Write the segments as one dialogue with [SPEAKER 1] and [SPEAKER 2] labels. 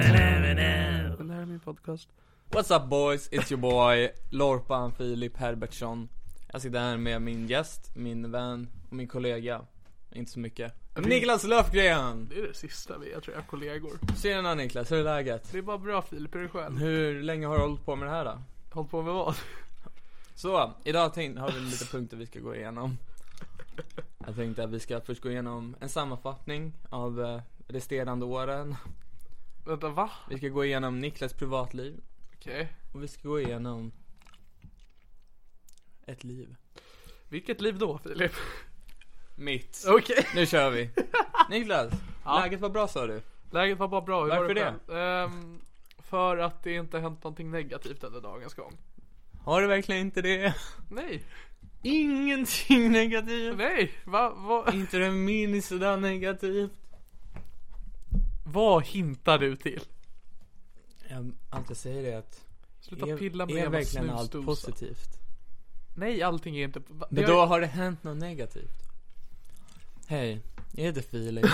[SPEAKER 1] Det här är min podcast.
[SPEAKER 2] What's up boys, it's your boy Lorpan Filip Herbertsson Jag sitter här med min gäst, min vän och min kollega Inte så mycket Niklas Löfgren!
[SPEAKER 1] Det är det sista vi är tror jag, kollegor.
[SPEAKER 2] Tjena Niklas, hur är läget?
[SPEAKER 1] Det är bara bra Filip, hur är det själv?
[SPEAKER 2] Hur länge har du hållit på med det här då?
[SPEAKER 1] Hållit på med vad?
[SPEAKER 2] Så, idag tänkte, har vi lite punkter vi ska gå igenom Jag tänkte att vi ska först gå igenom en sammanfattning av eh, resterande åren
[SPEAKER 1] Vänta, va?
[SPEAKER 2] Vi ska gå igenom Niklas privatliv
[SPEAKER 1] Okej.
[SPEAKER 2] och vi ska gå igenom ett liv
[SPEAKER 1] Vilket liv då Filip?
[SPEAKER 2] Mitt
[SPEAKER 1] Okej.
[SPEAKER 2] Nu kör vi. Niklas, läget var bra sa du.
[SPEAKER 1] Läget var bara bra, hur var
[SPEAKER 2] Varför
[SPEAKER 1] det?
[SPEAKER 2] det?
[SPEAKER 1] själv? Ehm, för att det inte har hänt någonting negativt under dagens gång.
[SPEAKER 2] Har du verkligen inte det?
[SPEAKER 1] Nej,
[SPEAKER 2] Ingenting negativt.
[SPEAKER 1] nej, va, va,
[SPEAKER 2] Inte det minsta negativt.
[SPEAKER 1] vad hintar du till?
[SPEAKER 2] Jag alltid säger det att
[SPEAKER 1] Sluta pilla
[SPEAKER 2] är,
[SPEAKER 1] med
[SPEAKER 2] är
[SPEAKER 1] jävla
[SPEAKER 2] verkligen allt
[SPEAKER 1] snusdosa.
[SPEAKER 2] positivt?
[SPEAKER 1] Nej, allting är inte... va- det
[SPEAKER 2] Men
[SPEAKER 1] har-
[SPEAKER 2] då har det hänt något negativt. Hej, jag heter Filip.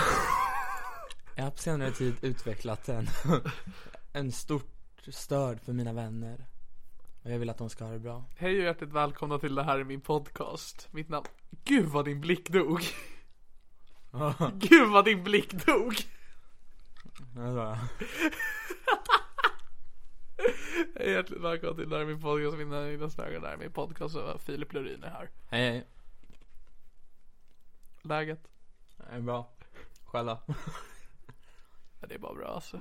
[SPEAKER 2] Jag har på senare tid utvecklat en, en stort stöd för mina vänner. Och jag vill att de ska ha det bra.
[SPEAKER 1] Hej och hjärtligt välkomna till det här är min podcast. Mitt namn... Gud vad din blick dog. Gud vad din blick dog.
[SPEAKER 2] Alltså,
[SPEAKER 1] Hej och hjärtligt välkomna till det här är min podcast. Mitt namn är Jonas Löfgren. Det här är min podcast och Filip Lurin är här.
[SPEAKER 2] Hej hej.
[SPEAKER 1] Läget?
[SPEAKER 2] Det är bra. Själva.
[SPEAKER 1] Ja, det är bara bra alltså.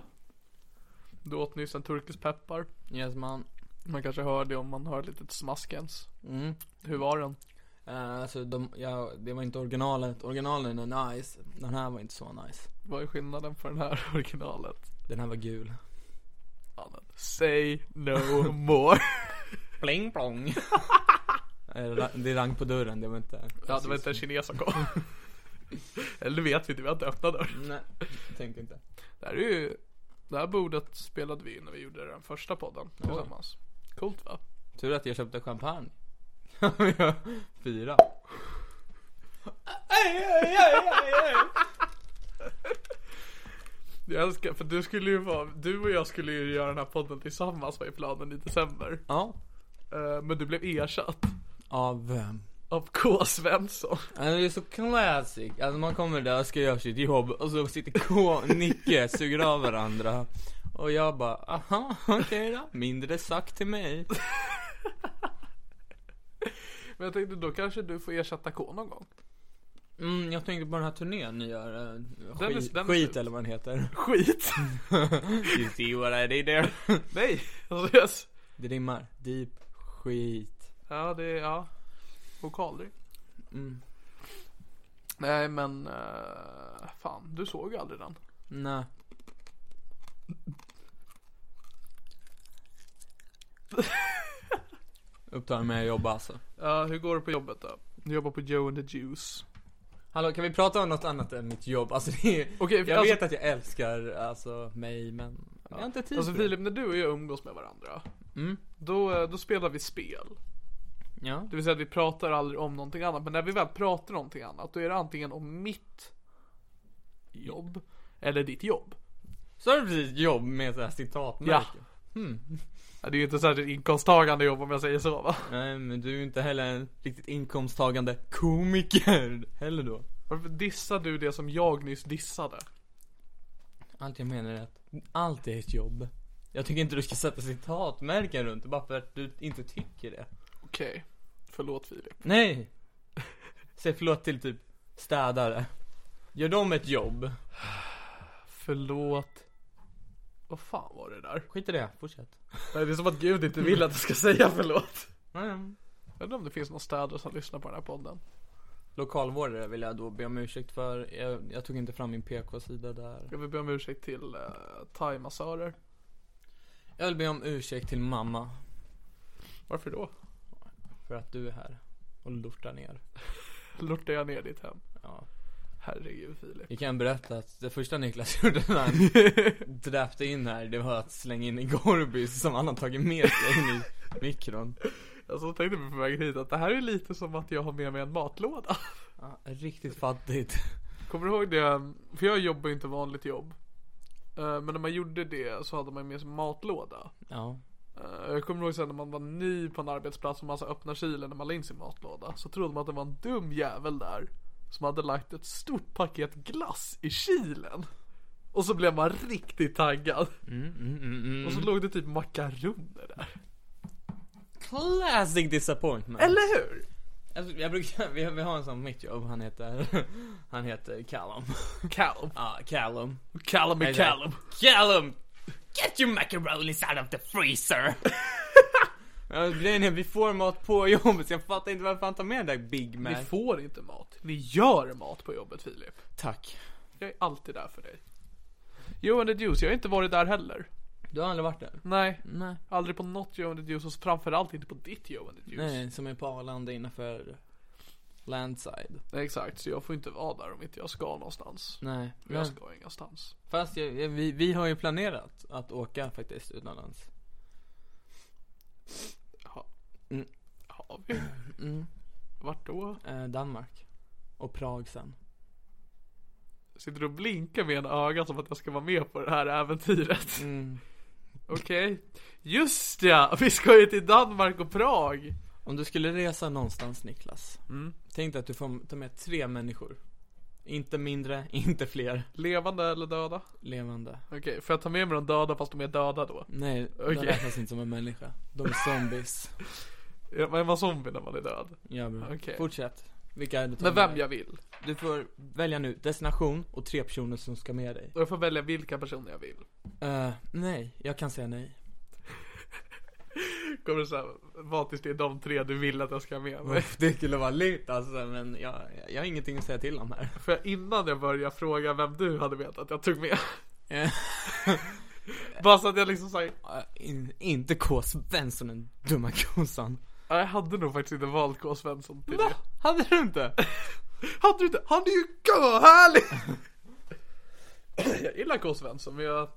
[SPEAKER 1] Du åt nyss en turkisk peppar.
[SPEAKER 2] Yes man.
[SPEAKER 1] Man kanske hör det om man hör ett litet smask ens.
[SPEAKER 2] Mm.
[SPEAKER 1] Hur var den?
[SPEAKER 2] Eh, alltså de, ja, det var inte originalet. Originalen är nice. Den här var inte så nice.
[SPEAKER 1] Vad är skillnaden på den här originalet?
[SPEAKER 2] Den här var gul.
[SPEAKER 1] Ja, men Say no more.
[SPEAKER 2] Pling plong. Eh, ra- det rang på dörren, det var inte...
[SPEAKER 1] ja, det var inte en kines som kom. Eller vet vi inte, vi har inte öppnat dörren.
[SPEAKER 2] Nej, jag tänkte inte.
[SPEAKER 1] Det här är ju, det här bordet spelade vi in när vi gjorde den första podden tillsammans. Coolt va?
[SPEAKER 2] Tur att jag köpte champagne. Fyra.
[SPEAKER 1] Jag älskar, för du skulle ju vara, du och jag skulle ju göra den här podden tillsammans var ju planen i december.
[SPEAKER 2] Ja.
[SPEAKER 1] Eh, men du blev ersatt
[SPEAKER 2] Av vem?
[SPEAKER 1] av K. Svensson.
[SPEAKER 2] Alltså, det är så classic. Alltså man kommer där och ska göra sitt jobb och så sitter K och Nicke suger av varandra. Och jag bara, aha, okej då. Mindre sagt till mig.
[SPEAKER 1] Men jag tänkte då kanske du får ersätta K någon gång.
[SPEAKER 2] Mm, jag tänkte på den här turnén ni gör. eh,
[SPEAKER 1] är-
[SPEAKER 2] Skit,
[SPEAKER 1] den är
[SPEAKER 2] skit
[SPEAKER 1] slut.
[SPEAKER 2] eller vad den heter.
[SPEAKER 1] Skit!
[SPEAKER 2] you see what I did there?
[SPEAKER 1] Nej! Alltså, yes.
[SPEAKER 2] Det rimmar. Deep skit.
[SPEAKER 1] Ja det är, ja. Vokalring.
[SPEAKER 2] Mm.
[SPEAKER 1] Nej men, eh, fan du såg ju aldrig den.
[SPEAKER 2] Nej. Upptagen med att jobba alltså.
[SPEAKER 1] Ja, hur går det på jobbet då? Du jobbar på Joe and the Juice.
[SPEAKER 2] Hallå, kan vi prata om något annat än mitt jobb? Alltså det är,
[SPEAKER 1] Okej,
[SPEAKER 2] Jag
[SPEAKER 1] alltså-
[SPEAKER 2] vet att jag älskar alltså mig men jag har inte tid
[SPEAKER 1] Alltså
[SPEAKER 2] för Typ det.
[SPEAKER 1] Filip, när du och jag umgås med varandra,
[SPEAKER 2] Mm.
[SPEAKER 1] då, eh, då spelar vi spel.
[SPEAKER 2] Ja.
[SPEAKER 1] Det vill säga att vi pratar aldrig om någonting annat. Men när vi väl pratar om någonting annat, då är det antingen om mitt jobb, eller ditt jobb.
[SPEAKER 2] Så har du precis jobb med så här citatmärken?
[SPEAKER 1] Ja, det är ju inte särskilt inkomsttagande jobb om jag säger så va?
[SPEAKER 2] Nej men du är ju inte heller en riktigt inkomsttagande komiker heller då.
[SPEAKER 1] Varför dissar du det som jag nyss dissade?
[SPEAKER 2] Allt jag menar är att allt är ett jobb. Jag tycker inte du ska sätta citatmärken runt det bara för att du inte tycker det.
[SPEAKER 1] Okej, förlåt Filip.
[SPEAKER 2] Nej! Säg förlåt till typ städare. Gör de ett jobb?
[SPEAKER 1] Förlåt. Vad fan var det där?
[SPEAKER 2] Skit i det, fortsätt.
[SPEAKER 1] Nej, det är som att Gud inte vill att du ska säga förlåt.
[SPEAKER 2] Mm.
[SPEAKER 1] Jag undrar om det finns någon städare som lyssnar på den här podden.
[SPEAKER 2] Lokalvårdare vill jag då be om ursäkt för. Jag, jag tog inte fram min PK-sida där.
[SPEAKER 1] Jag vill be om ursäkt till uh, thaimassörer.
[SPEAKER 2] Jag vill be om ursäkt till mamma
[SPEAKER 1] Varför då?
[SPEAKER 2] för att du är här och lortar ner.
[SPEAKER 1] Lortar jag ner ditt hem?
[SPEAKER 2] Ja.
[SPEAKER 1] Herregud Filip.
[SPEAKER 2] Vi kan berätta att det första Niklas gjorde när han dräpte in här, det var att slänga in en Gorbis som han har tagit med sig in i mikron.
[SPEAKER 1] Alltså jag tänkte vi på vägen hit att det här är lite som att jag har med mig en matlåda.
[SPEAKER 2] Ja, riktigt fattigt.
[SPEAKER 1] Kommer du ihåg det? För jag jobbar ju inte vanligt jobb. Eh, Men när man gjorde det så hade man ju med sig matlåda.
[SPEAKER 2] Ja.
[SPEAKER 1] Eh, Jag kommer ihåg sen när man var ny på en arbetsplats och man så öppnar kylen när man la in sin matlåda. Så trodde man att det var en dum jävel där. Som hade lagt ett stort paket glass i kylen. Och så blev man riktigt taggad. Och så låg det typ makaroner där.
[SPEAKER 2] Classic disappointment.
[SPEAKER 1] Eller hur?
[SPEAKER 2] Alltså, jag brukar, vi, vi har en sån på mitt jobb, han heter, han heter Callum.
[SPEAKER 1] Callum.
[SPEAKER 2] Ja, Callum.
[SPEAKER 1] Callum är
[SPEAKER 2] Exakt.
[SPEAKER 1] Callum.
[SPEAKER 2] Callum! Get your macaronis out of the freezer! Ja, Grejen är, vi får mat på jobbet så jag fattar inte varför han tar med den där Big Mac.
[SPEAKER 1] Ni får inte mat. Ni gör mat på jobbet Filip.
[SPEAKER 2] Tack.
[SPEAKER 1] Jag är alltid där för dig. Joe and the Juice, jag har inte varit där heller.
[SPEAKER 2] Du har aldrig varit där?
[SPEAKER 1] Nej.
[SPEAKER 2] Nej.
[SPEAKER 1] Aldrig på något Joe and the Juice och framförallt inte på ditt Joe and the Juice.
[SPEAKER 2] Nej, som är på Arlanda innanför Landside.
[SPEAKER 1] Nej, Exakt, så jag får inte vara där om inte jag ska någonstans.
[SPEAKER 2] Nej,
[SPEAKER 1] Och Jag ska ingenstans.
[SPEAKER 2] Fast jag, jag, vi, vi har ju planerat att åka faktiskt utomlands.
[SPEAKER 1] Ha,
[SPEAKER 2] Mm.
[SPEAKER 1] har vi? Vart då?
[SPEAKER 2] Eh, Danmark. Och Prag sen.
[SPEAKER 1] Sitter du och blinkar med en öga som att jag ska vara med på det här äventyret?
[SPEAKER 2] Mm.
[SPEAKER 1] Okej. Just ja! Vi ska ju till Danmark och Prag!
[SPEAKER 2] Om du skulle resa någonstans Niklas.
[SPEAKER 1] Mm.
[SPEAKER 2] Tänk dig att du får ta med tre människor. Inte mindre, inte fler.
[SPEAKER 1] Levande eller döda?
[SPEAKER 2] Levande.
[SPEAKER 1] Okej, får jag ta med mig de döda fast de är döda då?
[SPEAKER 2] Nej,
[SPEAKER 1] Okej.
[SPEAKER 2] de räknas inte som en människa. De är zombies.
[SPEAKER 1] Ja, Man var zombie när man är död.
[SPEAKER 2] Ja, bra.
[SPEAKER 1] Okej.
[SPEAKER 2] Fortsätt. Vilka är det du tar
[SPEAKER 1] Med
[SPEAKER 2] med
[SPEAKER 1] vem
[SPEAKER 2] dig?
[SPEAKER 1] jag vill.
[SPEAKER 2] Du får välja nu destination och tre personer som ska med dig.
[SPEAKER 1] Och jag får välja vilka personer jag vill.
[SPEAKER 2] Eh, nej, jag kan säga nej.
[SPEAKER 1] Kommer det såhär, vara tills det är de tre du vill att jag ska ha med mig.
[SPEAKER 2] Uff, det skulle vara lite alltså, men jag, jag, jag har ingenting att säga till om här.
[SPEAKER 1] För jag, innan jag börjar fråga vem du hade vetat att jag tog med.
[SPEAKER 2] Eh,
[SPEAKER 1] Bara så att jag liksom såhär,
[SPEAKER 2] in, inte K. Svensson, den dumma kossan.
[SPEAKER 1] jag hade nog faktiskt inte valt K. Svensson till
[SPEAKER 2] Va?
[SPEAKER 1] det.
[SPEAKER 2] Hade du inte?
[SPEAKER 1] Hade du inte? Han är ju görhärlig! jag gillar K. Svensson men jag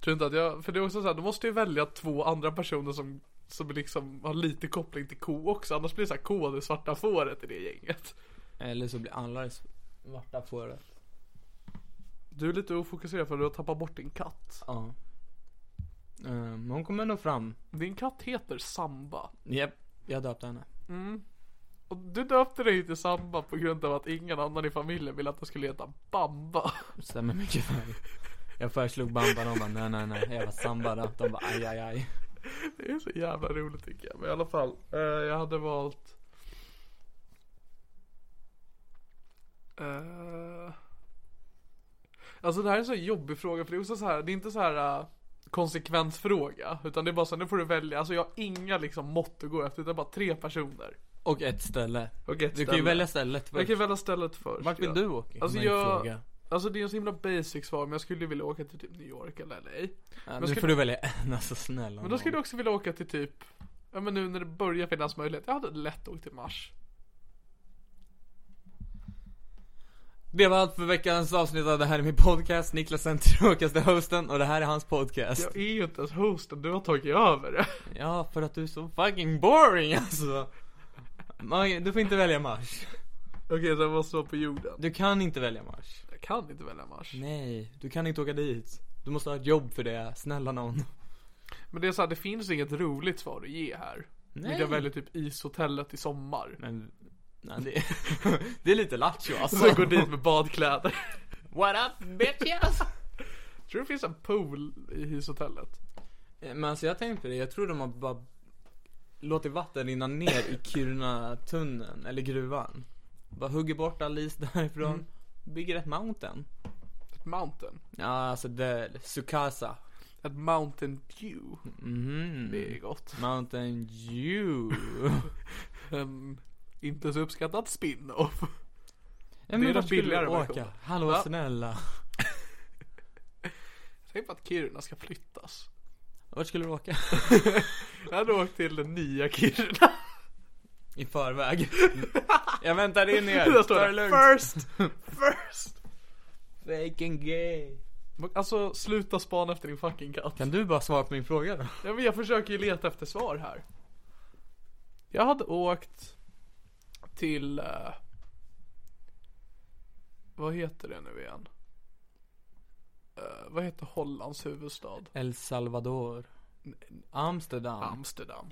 [SPEAKER 1] tror inte att jag, för det är också såhär, du måste ju välja två andra personer som som liksom har lite koppling till K också, annars blir det såhär K det svarta fåret i det gänget.
[SPEAKER 2] Eller så blir alla det svarta fåret.
[SPEAKER 1] Du är lite ofokuserad för att du har tappat bort din katt.
[SPEAKER 2] Ja. Eh, men hon kommer ändå fram.
[SPEAKER 1] Din katt heter Samba.
[SPEAKER 2] Japp, jag döpte henne.
[SPEAKER 1] Och du döpte dig till Samba på grund av att ingen annan i familjen ville att den skulle heta Bamba.
[SPEAKER 2] Stämmer mycket väl. Jag föreslog Bamba, de bara nej nej nej, jag var samba då. De bara aj aj aj.
[SPEAKER 1] Det är så jävla roligt tycker jag. Men i alla fall, eh, jag hade valt Eh, Alltså det här är en så jobbig fråga för det är också så här, det är inte så här eh, konsekvensfråga. Utan det är bara så här, nu får du välja. Alltså jag har inga liksom mått att gå efter utan bara tre personer.
[SPEAKER 2] Och ett ställe.
[SPEAKER 1] Och ett
[SPEAKER 2] Du kan ju
[SPEAKER 1] ställe.
[SPEAKER 2] välja stället
[SPEAKER 1] Jag
[SPEAKER 2] först.
[SPEAKER 1] kan välja stället först.
[SPEAKER 2] Vart vill
[SPEAKER 1] ja.
[SPEAKER 2] du åka?
[SPEAKER 1] Alltså
[SPEAKER 2] Min
[SPEAKER 1] jag-
[SPEAKER 2] fråga.
[SPEAKER 1] Alltså det är en så himla basic svar men jag skulle ju vilja åka till typ New York eller LA.
[SPEAKER 2] Ja, nu
[SPEAKER 1] skulle-
[SPEAKER 2] får du välja en, alltså snälla
[SPEAKER 1] Men då skulle
[SPEAKER 2] nån.
[SPEAKER 1] jag också vilja åka till typ, ja men nu när det börjar finnas möjlighet. Jag hade lätt åkt till Mars.
[SPEAKER 2] Det var allt för veckans avsnitt av Det här är min podcast. Niklas Centeråkas är hosten och det här är hans podcast.
[SPEAKER 1] Jag är ju inte ens hosten, du har tagit över det.
[SPEAKER 2] Ja, för att du är så fucking boring alltså. Man, du får inte välja Mars.
[SPEAKER 1] Okej, så jag måste vara på jorden.
[SPEAKER 2] Du kan inte välja Mars.
[SPEAKER 1] Jag kan inte välja Mars.
[SPEAKER 2] Nej, du kan inte åka dit. Du måste ha ett jobb för det, snälla någon.
[SPEAKER 1] Men det är så här, det finns inget roligt svar att ge här. Men jag väljer typ ishotellet i sommar.
[SPEAKER 2] Men, nej, det, det är lite lattjo alltså.
[SPEAKER 1] Så jag går dit med badkläder.
[SPEAKER 2] What up bitches?
[SPEAKER 1] Tror du det finns en pool i ishotellet?
[SPEAKER 2] Men alltså jag tänkte på det, jag tror de har bara låtit vatten rinna ner i Kiruna-tunneln, eller gruvan. Bara hugger bort all is därifrån,
[SPEAKER 1] Mm.
[SPEAKER 2] bygger ett mountain.
[SPEAKER 1] Ett mountain?
[SPEAKER 2] Ja, alltså det, Sukasa.
[SPEAKER 1] Ett mountain dew?
[SPEAKER 2] Mhm.
[SPEAKER 1] Det är gott.
[SPEAKER 2] Mountain Dew.
[SPEAKER 1] En Ehm, inte så uppskattad spin-off.
[SPEAKER 2] Ja, men
[SPEAKER 1] den
[SPEAKER 2] vart skulle
[SPEAKER 1] billigare
[SPEAKER 2] du
[SPEAKER 1] versionen.
[SPEAKER 2] Hallå
[SPEAKER 1] Va?
[SPEAKER 2] snälla.
[SPEAKER 1] Tänk på att Kiruna ska flyttas.
[SPEAKER 2] Vart skulle du åka?
[SPEAKER 1] Jag hade åkt till den nya Kiruna.
[SPEAKER 2] I förväg. Jag väntar in
[SPEAKER 1] Där
[SPEAKER 2] er.
[SPEAKER 1] står
[SPEAKER 2] Ta det
[SPEAKER 1] det
[SPEAKER 2] lugnt.
[SPEAKER 1] first, first.
[SPEAKER 2] Faking gay.
[SPEAKER 1] Alltså sluta spana efter din fucking katt.
[SPEAKER 2] Kan du bara svara på min fråga då?
[SPEAKER 1] Ja, men jag försöker ju leta efter svar här. Jag hade åkt till... eh, vad heter det nu igen? Eh, vad heter Hollands huvudstad?
[SPEAKER 2] El Salvador. Amsterdam.
[SPEAKER 1] Amsterdam.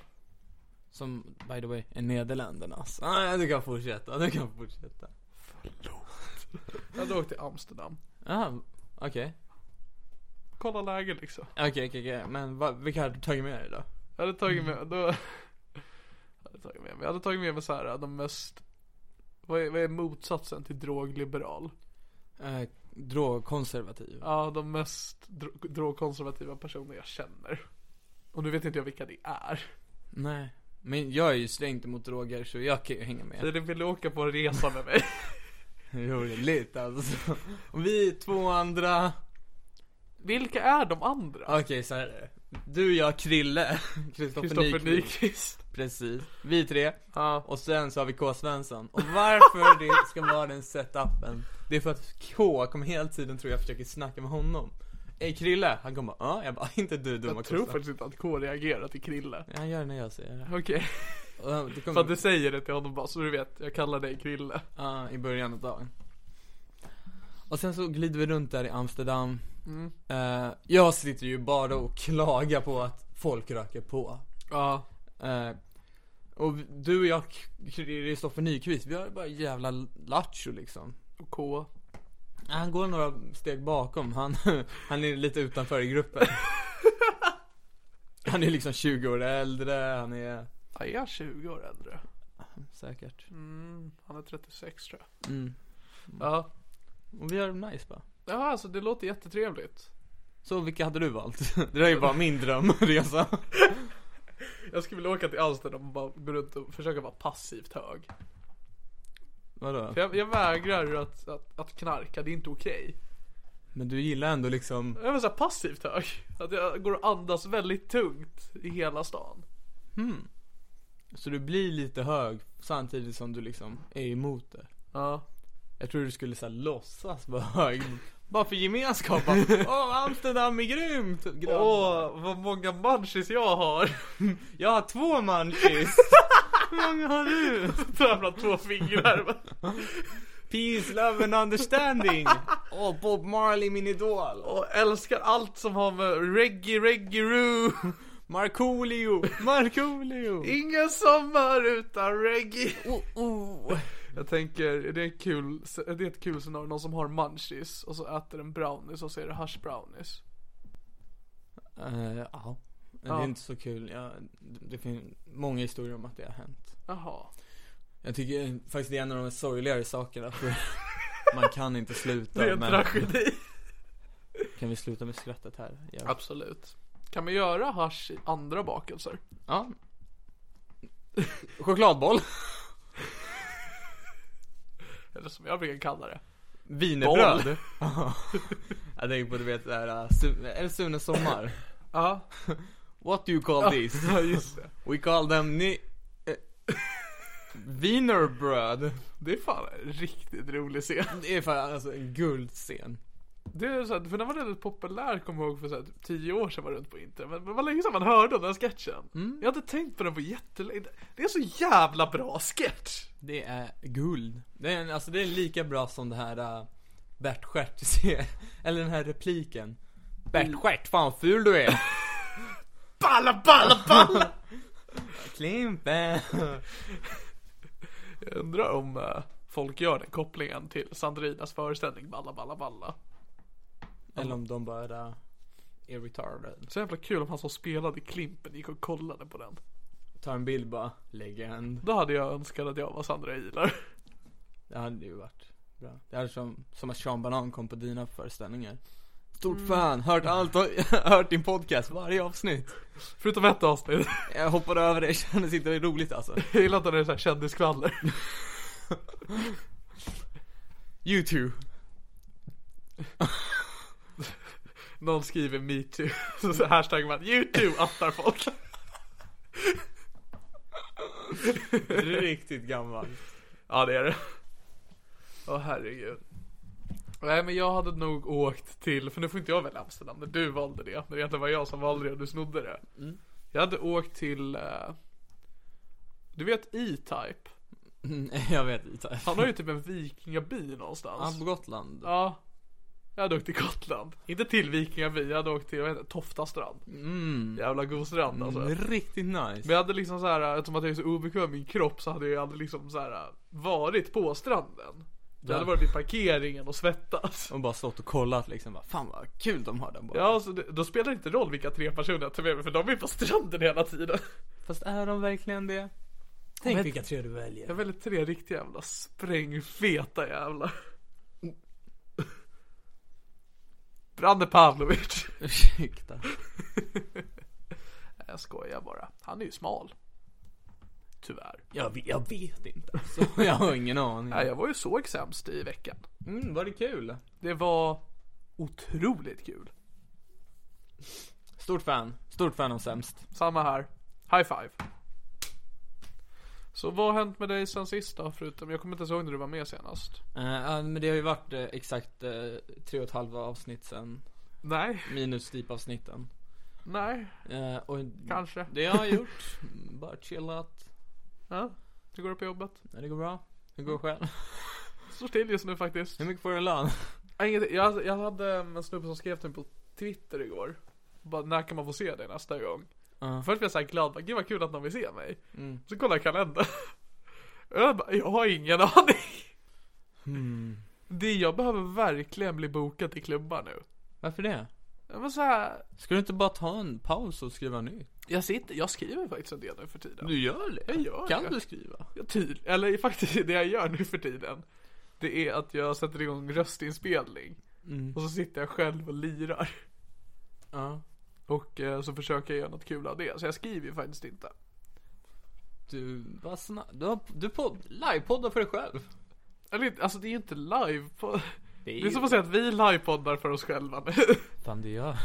[SPEAKER 2] Som by the way är Nederländernas. Ah, du kan fortsätta, du kan fortsätta.
[SPEAKER 1] Jag hade åkt till Amsterdam.
[SPEAKER 2] Ah, okej.
[SPEAKER 1] Kolla läget liksom.
[SPEAKER 2] Okej, okej, okej. Men vad, vilka hade du tagit med dig då?
[SPEAKER 1] Jag hade tagit med, då, jag hade tagit med mig, jag hade tagit med mig så här de mest, vad är, vad är motsatsen till drogliberal?
[SPEAKER 2] Eh, drogkonservativ.
[SPEAKER 1] Ja, de mest dro- drogkonservativa personer jag känner. Och nu vet inte jag vilka det är.
[SPEAKER 2] Nej. Men jag är ju strängt emot droger så jag kan ju hänga med.
[SPEAKER 1] Filip ville åka på en resa med mig.
[SPEAKER 2] Roligt alltså. Och vi två andra.
[SPEAKER 1] Vilka är de andra?
[SPEAKER 2] Okej så här är det. Du, jag, Krille. Kristoffer
[SPEAKER 1] Kristoffer
[SPEAKER 2] Nyqvist.
[SPEAKER 1] Nyqvist.
[SPEAKER 2] Precis. Vi tre.
[SPEAKER 1] Ja.
[SPEAKER 2] Och sen så har vi K Svensson. Och varför det ska vara den setupen. Det är för att K kommer hela tiden tror jag försöker snacka med honom. Ey Krille. Han kommer bara, ja. Jag bara, inte du dumma
[SPEAKER 1] Jag tror
[SPEAKER 2] Kosta."
[SPEAKER 1] faktiskt inte att K reagerar till Krille.
[SPEAKER 2] Ja, Han gör det när jag säger det.
[SPEAKER 1] Okej,
[SPEAKER 2] Och han- det
[SPEAKER 1] för
[SPEAKER 2] kommer,
[SPEAKER 1] att du säger det till honom bara så du vet, jag kallar dig Krille.
[SPEAKER 2] ja, i början av dagen. Och sen så glider vi runt där i Amsterdam.
[SPEAKER 1] Mm.
[SPEAKER 2] Eh, jag sitter ju bara och klagar på att folk röker på.
[SPEAKER 1] Ja.
[SPEAKER 2] Eh, och vi- du och jag, K- Kristoffer Nyqvist, vi har ju bara jävla lattjo liksom.
[SPEAKER 1] Och K.
[SPEAKER 2] Han går några steg bakom, han, han är lite utanför i gruppen Han är liksom 20 år äldre, han är
[SPEAKER 1] Ja, jag är 20 år äldre.
[SPEAKER 2] säkert
[SPEAKER 1] Mm, han är 36 tror jag.
[SPEAKER 2] mm.
[SPEAKER 1] Ja.
[SPEAKER 2] Och vi har det nice bara
[SPEAKER 1] Ja, alltså det låter jättetrevligt.
[SPEAKER 2] Så vilka hade du valt? Det där är ju bara min drömresa
[SPEAKER 1] Jag skulle vilja åka till Amsterdam och bara gå runt och försöka vara passivt hög.
[SPEAKER 2] Vadå?
[SPEAKER 1] För jag, jag vägrar ju att, att, att knarka, det är inte okej.
[SPEAKER 2] Men du gillar ändå liksom,
[SPEAKER 1] Jag vill säga passivt hög. Att jag går och andas väldigt tungt i hela stan.
[SPEAKER 2] så du blir lite hög samtidigt som du liksom är emot det
[SPEAKER 1] Ja.
[SPEAKER 2] Jag tror du skulle såhär låtsas vara hög Bara för gemenskap, bara, åh Amsterdam är grymt! grabbar."
[SPEAKER 1] Åh, vad många munchies jag har.
[SPEAKER 2] Jag har två munchies! Hur många har du?
[SPEAKER 1] Tramlar två fingrar.
[SPEAKER 2] Peace, love and understanding! Åh, Bob Marley min idol!
[SPEAKER 1] Och älskar allt som har med reggae, reggae, roo.
[SPEAKER 2] Markoolio! Markoolio!
[SPEAKER 1] Ingen sommar utan reggae.
[SPEAKER 2] Oh, oh.
[SPEAKER 1] Jag tänker, det är, en kul, det är ett kul scenario, någon som har munchies och så äter en brownies och så är det hash brownies.
[SPEAKER 2] Eh, ja. Det är
[SPEAKER 1] Ja.
[SPEAKER 2] inte så kul. Ja, det finns många historier om att det har hänt.
[SPEAKER 1] Jaha.
[SPEAKER 2] Jag tycker faktiskt det är en av de sorgligare sakerna. För Man kan inte sluta
[SPEAKER 1] Det är en
[SPEAKER 2] men...
[SPEAKER 1] tragedi.
[SPEAKER 2] Kan vi sluta med skrattet här? Ja.
[SPEAKER 1] Absolut. Kan man göra hasch i andra bakelser?
[SPEAKER 2] ja. Chokladboll.
[SPEAKER 1] Eller som jag brukar kalla det.
[SPEAKER 2] Wienerbröd. jag tänker på du vet det här, äh, Su- eller Sunes sommar.
[SPEAKER 1] Ja,
[SPEAKER 2] What do you call this?
[SPEAKER 1] ja just det.
[SPEAKER 2] We call them ni... eh, Wienerbröd.
[SPEAKER 1] Det är fan en riktigt rolig scen.
[SPEAKER 2] Det är fan alltså en guldscen.
[SPEAKER 1] Det är så här, för den var väldigt populär kommer jag ihåg för så här, typ tio år sedan var det runt på internet. Men det var länge sedan man hörde om den här sketchen. Jag hade tänkt på den på jättelänge. Det är en så jävla bra sketch.
[SPEAKER 2] Det är guld. Det är, en- alltså det är lika bra som det här uh, Bert Stjärt ser. Eller den här repliken. Bert Stjärt, fan vad ful du är.
[SPEAKER 1] Balla, balla, balla!
[SPEAKER 2] Klimpen.
[SPEAKER 1] jag undrar om eh, folk gör den kopplingen till Sandrinas föreställning Balla, balla, balla.
[SPEAKER 2] Eller om de bara uh, är retarded.
[SPEAKER 1] Så jävla kul om han som spelade i Klimpen gick och kollade på den.
[SPEAKER 2] Tar en bild bara, legend.
[SPEAKER 1] Då hade jag önskat att jag var Sandra Ilar.
[SPEAKER 2] Det hade ju varit bra. Det är som, som att Sean Banan kom på dina föreställningar. Stort
[SPEAKER 1] Mm.
[SPEAKER 2] fan, hört allt och hört din podcast varje avsnitt.
[SPEAKER 1] Förutom ett avsnitt.
[SPEAKER 2] Jag hoppade över det, kändes inte roligt alltså.
[SPEAKER 1] Jag gillar att det är såhär kändiskvaller.
[SPEAKER 2] YouTube.
[SPEAKER 1] Någon skriver metoo. Så, så hashtaggar man youtube attar folk.
[SPEAKER 2] Riktigt gammal.
[SPEAKER 1] Ja det är det. Åh herregud. Nej men jag hade nog åkt till, för nu får inte jag välja Amsterdam när du valde det. När det egentligen var jag som valde det och du snodde det.
[SPEAKER 2] Mm.
[SPEAKER 1] Jag hade åkt till, eh, du vet E-Type?
[SPEAKER 2] Mm, Jag vet inte.
[SPEAKER 1] Han har ju typ en vikingaby någonstans.
[SPEAKER 2] Han på Gotland.
[SPEAKER 1] Ja. Jag hade åkt till Gotland. Inte till Vikingaby, jag hade åkt till, vad heter det, Toftastrand.
[SPEAKER 2] Mm.
[SPEAKER 1] Jävla god strand alltså.
[SPEAKER 2] Mm, Riktigt nice.
[SPEAKER 1] Men jag hade liksom så här, eftersom att jag är så obekväm i min kropp så hade jag aldrig liksom så här varit på stranden. Jag hade
[SPEAKER 2] Ja.
[SPEAKER 1] varit vid parkeringen och svettats.
[SPEAKER 2] Och bara stått och kollat liksom. Bara, Fan vad kul de har där borta.
[SPEAKER 1] Ja, så det, då spelar det inte roll vilka tre personer jag tar med mig för de är på stranden hela tiden.
[SPEAKER 2] Fast är de verkligen det? Tänk vilka tre du väljer.
[SPEAKER 1] Jag väljer tre riktiga jävla sprängfeta jävlar. Brande Pavlovic.
[SPEAKER 2] Ursäkta.
[SPEAKER 1] Jag skojar bara. Han är ju smal. Tyvärr.
[SPEAKER 2] Jag, vet- jag vet inte. Så jag har ingen aning.
[SPEAKER 1] Nej, jag var ju så sämst i veckan.
[SPEAKER 2] Mm, var det kul?
[SPEAKER 1] Det var otroligt kul.
[SPEAKER 2] Stort fan. Stort fan av sämst.
[SPEAKER 1] Samma här. High five. Så vad har hänt med dig sen sist då? Förutom, jag kommer inte ens ihåg när du var med senast.
[SPEAKER 2] Eh, ja, men det har ju varit eh, exakt eh, tre och ett halvt avsnitt sen.
[SPEAKER 1] Nej,
[SPEAKER 2] Minus avsnitten.
[SPEAKER 1] nej,
[SPEAKER 2] Eh, och
[SPEAKER 1] kanske.
[SPEAKER 2] det jag har gjort, mm, bara chillat.
[SPEAKER 1] Ja, det går upp på jobbet.
[SPEAKER 2] Ja, det går bra. Hur går det själv?
[SPEAKER 1] Står still just nu faktiskt.
[SPEAKER 2] Hur mycket får du i lön?
[SPEAKER 1] Nej, inget- Mm. Jag, jag hade en snubbe som skrev till mig på Twitter igår. Bara, när kan man få se dig nästa gång?
[SPEAKER 2] Ja.
[SPEAKER 1] Först blev jag såhär glad, bara, gud vad kul att någon vill se mig. Så kollade jag kalendern. Och jag bara, jag har ingen aning. Hmm. Det jag behöver verkligen bli bokad till klubbar nu.
[SPEAKER 2] Varför det?
[SPEAKER 1] Jag var så här,
[SPEAKER 2] Ska du inte bara ta en paus och skriva nytt?
[SPEAKER 1] Jag sitter, jag skriver faktiskt en del nu för tiden.
[SPEAKER 2] gör det?
[SPEAKER 1] Jag gör
[SPEAKER 2] Kan
[SPEAKER 1] det.
[SPEAKER 2] du skriva?
[SPEAKER 1] Jag ty- eller faktiskt det jag gör nu för tiden. Det är att jag sätter igång röstinspelning. Och så sitter jag själv och lirar.
[SPEAKER 2] Ja.
[SPEAKER 1] Och eh, så försöker jag göra något kul av det. Så jag skriver ju faktiskt inte.
[SPEAKER 2] Du, vad sna- du, har, du podd, livepoddar för dig själv.
[SPEAKER 1] Eller inte- alltså det är ju inte live på...
[SPEAKER 2] Det är,
[SPEAKER 1] Det är som att säga att vi livepoddar för oss själva nu.
[SPEAKER 2] Fan det gör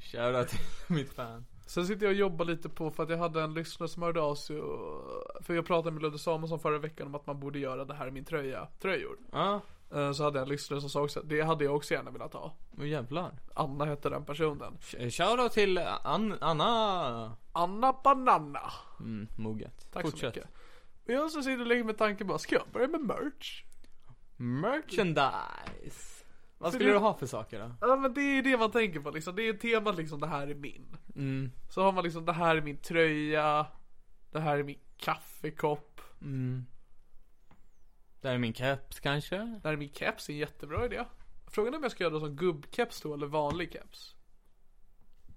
[SPEAKER 2] Shoutout till mitt fan.
[SPEAKER 1] Sen sitter jag och jobbar lite på för att jag hade en lyssnare som hörde av sig och... För jag pratade med Ludde Samuelsson förra veckan om att man borde göra det här i min tröja, tröjor.
[SPEAKER 2] Ja,
[SPEAKER 1] Eh, Så hade jag en lyssnare som sa också att det hade jag också gärna velat ha.
[SPEAKER 2] och jävlar.
[SPEAKER 1] Anna hette den personen.
[SPEAKER 2] Sh- eh, Shoutout till An- Anna.
[SPEAKER 1] Anna Banana.
[SPEAKER 2] Mm, moget.
[SPEAKER 1] Tack så mycket. Och jag så sitter och lägger med tanken bara, ska jag börja med merch?
[SPEAKER 2] Merchandise. Vad
[SPEAKER 1] För
[SPEAKER 2] skulle
[SPEAKER 1] det-
[SPEAKER 2] du ha för saker då?
[SPEAKER 1] Ja men det är det man tänker på liksom, det är temat liksom det här är min. Så har man liksom det här är min tröja, det här är min kaffekopp,
[SPEAKER 2] Där är min keps kanske?
[SPEAKER 1] det här är min keps, det är en jättebra idé. Frågan är om jag ska göra det som gubbkeps då eller vanlig keps.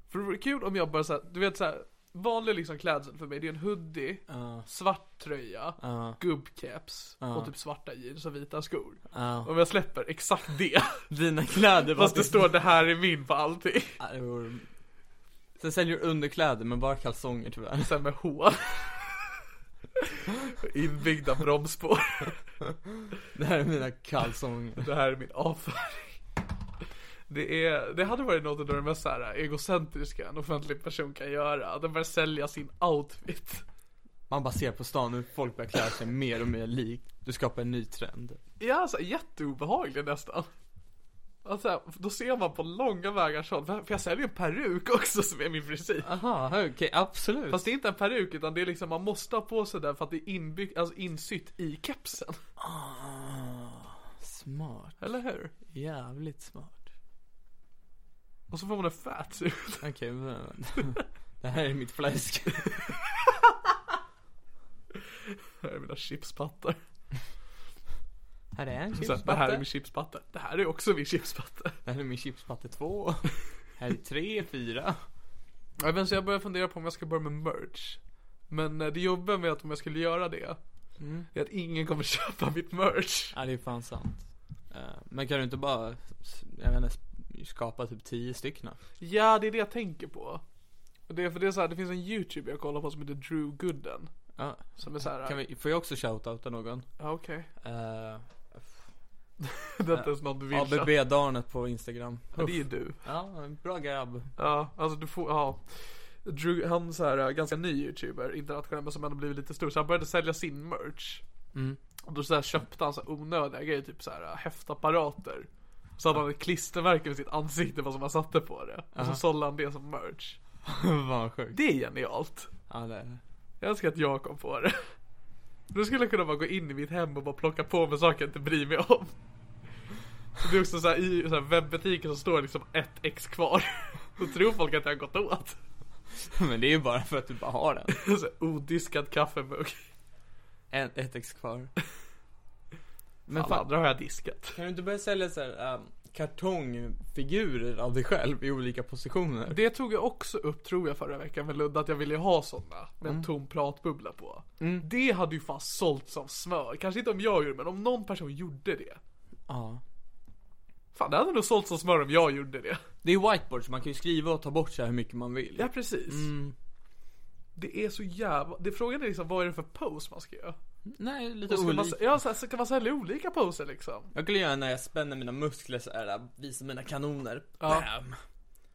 [SPEAKER 1] För det vore kul om jag bara såhär, du vet såhär, vanlig liksom klädsel för mig, det är en hoodie,
[SPEAKER 2] Ja.
[SPEAKER 1] svart tröja,
[SPEAKER 2] Ja.
[SPEAKER 1] gubbkeps och
[SPEAKER 2] Ja.
[SPEAKER 1] typ svarta jeans och vita skor.
[SPEAKER 2] Ja.
[SPEAKER 1] Om jag släpper exakt det,
[SPEAKER 2] Dina kläder var
[SPEAKER 1] fast det står det här är min på allting.
[SPEAKER 2] Ja, det vore- Sen säljer du underkläder men bara kalsonger tyvärr.
[SPEAKER 1] Sen med hår. Och Inbyggda bromsspår.
[SPEAKER 2] Det här är mina kalsonger.
[SPEAKER 1] Det här är min avföring. Det, är, det hade varit något av det mest så här egocentriska en offentlig person kan göra. Att den börjar sälja sin outfit.
[SPEAKER 2] Man bara ser på stan hur folk börjar klä sig mer och mer likt. Du skapar en ny trend.
[SPEAKER 1] Ja, alltså jätteobehaglig nästan. Alltså, då ser man på långa vägar sånt. För jag säljer en peruk också som är min frisyr.
[SPEAKER 2] Aha, okej, absolut.
[SPEAKER 1] Fast det är inte en peruk utan det är liksom man måste ha på sig den för att det är inbyggt, alltså insytt i kepsen.
[SPEAKER 2] Ah, Smart.
[SPEAKER 1] Eller hur?
[SPEAKER 2] Jävligt smart.
[SPEAKER 1] Och så får man en fatsuit.
[SPEAKER 2] Okej, men... Det här är mitt fläsk.
[SPEAKER 1] Här är mina chipspattar.
[SPEAKER 2] Här är en
[SPEAKER 1] Så, det här
[SPEAKER 2] chipspatte.
[SPEAKER 1] är min chipspatte. Det här är också min chipspatte.
[SPEAKER 2] Det här är min chipspatte två. Här är tre, fyra.
[SPEAKER 1] Ja, men så jag börjar fundera på om jag ska börja med merch. Men eh, det jobbiga med att om jag skulle göra det, är att ingen kommer köpa mitt merch.
[SPEAKER 2] Ja, det är fan sant. Eh, Men kan du inte bara, jag vet inte, skapa typ tio stycken?
[SPEAKER 1] Ja, det är det jag tänker på. Och det är för det är så här, det finns en YouTube jag kollar på som heter Drew Gooden.
[SPEAKER 2] Ja.
[SPEAKER 1] Som är så här,
[SPEAKER 2] Kan vi, får jag också shoutouta någon?
[SPEAKER 1] ja okej.
[SPEAKER 2] Uh,
[SPEAKER 1] Det är inte ens någon du vill köpa. Ja,
[SPEAKER 2] ABB-darnet på Instagram.
[SPEAKER 1] det är ju du.
[SPEAKER 2] Ja, en bra grabb.
[SPEAKER 1] Ja, alltså du får, ja. Drew, han så här, eh, ganska ny YouTuber, internationell men som ändå blivit lite stor. Så han började sälja sin merch.
[SPEAKER 2] Mm.
[SPEAKER 1] Och då så här köpte han så här onödiga grejer, typ så här äh, häftapparater. Så hade han ett klistermärke med sitt ansikte vad som han satte på det. Och så sålde han det som merch.
[SPEAKER 2] Vad sjukt.
[SPEAKER 1] Det är genialt.
[SPEAKER 2] Ja, det är det.
[SPEAKER 1] Jag önskar att jag kom på det. Då skulle jag kunna bara gå in i mitt hem och bara plocka på mig saker jag inte bryr mig om. Och Det är också så här, i så här webbutiken så står det liksom ett ex kvar. Då tror folk att jag har gått åt.
[SPEAKER 2] Men det är ju bara för att du bara har den.
[SPEAKER 1] Så här, odiskad kaffemugg.
[SPEAKER 2] En, ett ex kvar. Men
[SPEAKER 1] Men fan,
[SPEAKER 2] fan,
[SPEAKER 1] andra har jag diskat.
[SPEAKER 2] kan du inte börja sälja så här, ehm, kartongfigurer av dig själv i olika positioner?
[SPEAKER 1] Det tog jag också upp tror jag förra veckan med Ludde att jag ville ha sådana med en tom pratbubbla på. Det hade ju fan sålts som smör. Kanske inte om jag gjorde men om någon person gjorde det.
[SPEAKER 2] Ja.
[SPEAKER 1] Fan det hade nog sålts som smör om jag gjorde det.
[SPEAKER 2] Det är whiteboard så man kan ju skriva och ta bort så här hur mycket man vill.
[SPEAKER 1] Ja precis. Mm. Det är så jävla... Det, frågan är liksom vad är det för pose man ska göra?
[SPEAKER 2] Nej, lite
[SPEAKER 1] Och Ska
[SPEAKER 2] olika.
[SPEAKER 1] man, ja, så här, så kan man sälja olika poser liksom?
[SPEAKER 2] Jag skulle göra när jag spänner mina muskler så här, där, visar mina kanoner.
[SPEAKER 1] Ja.
[SPEAKER 2] Bam.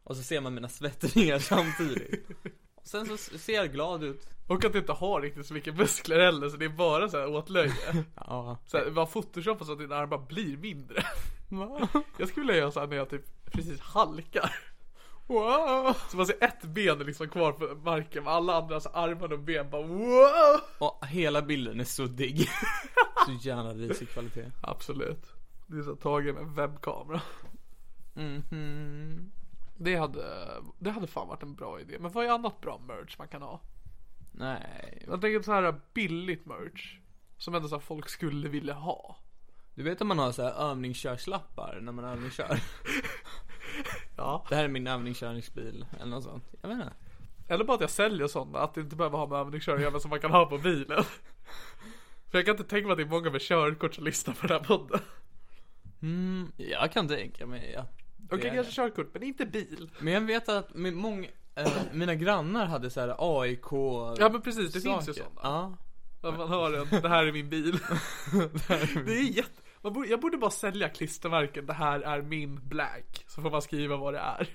[SPEAKER 2] Och så ser man mina svettningar samtidigt. Och Sen så ser jag glad ut.
[SPEAKER 1] Och att det inte har riktigt så mycket muskler heller så det är bara så här åtlöje.
[SPEAKER 2] Ja.
[SPEAKER 1] Så här, bara photoshopa så att dina armar blir mindre. Jag skulle vilja göra så här när jag typ precis halkar. Wow! Så man ser ett ben liksom kvar på marken med alla andras armar och ben bara wow!
[SPEAKER 2] Och hela bilden är suddig. Så jävla risig kvalitet.
[SPEAKER 1] Absolut. Det är så här tagen med en webbkamera.
[SPEAKER 2] Mhm.
[SPEAKER 1] Det hade, det hade fan varit en bra idé. Men vad är annat bra merch man kan ha?
[SPEAKER 2] Nej.
[SPEAKER 1] Jag tänker så här billigt merch. Som ändå så här folk skulle vilja ha.
[SPEAKER 2] Du vet om man har så här övningskörslappar när man övningskör?
[SPEAKER 1] Ja.
[SPEAKER 2] Det här är min övningskörningsbil eller något sånt. Jag vet inte.
[SPEAKER 1] Eller bara att jag säljer sådana, att det inte behöver ha med övningskörning att göra, men som man kan ha på bilen. För jag kan inte tänka mig att det är många med körkort som lyssnar på den här podden.
[SPEAKER 2] Mm, jag kan tänka mig att det
[SPEAKER 1] Okej,
[SPEAKER 2] är det.
[SPEAKER 1] kanske körkort, men inte bil.
[SPEAKER 2] Men jag vet att min, många, eh, mina grannar hade så här AIK
[SPEAKER 1] Ja men precis, det finns ju sådana.
[SPEAKER 2] Ja.
[SPEAKER 1] Att Man har en, det här är min bil. det är jätte... Man borde, jag borde bara sälja klistermärken, det här är min blank. Så får man skriva vad det är.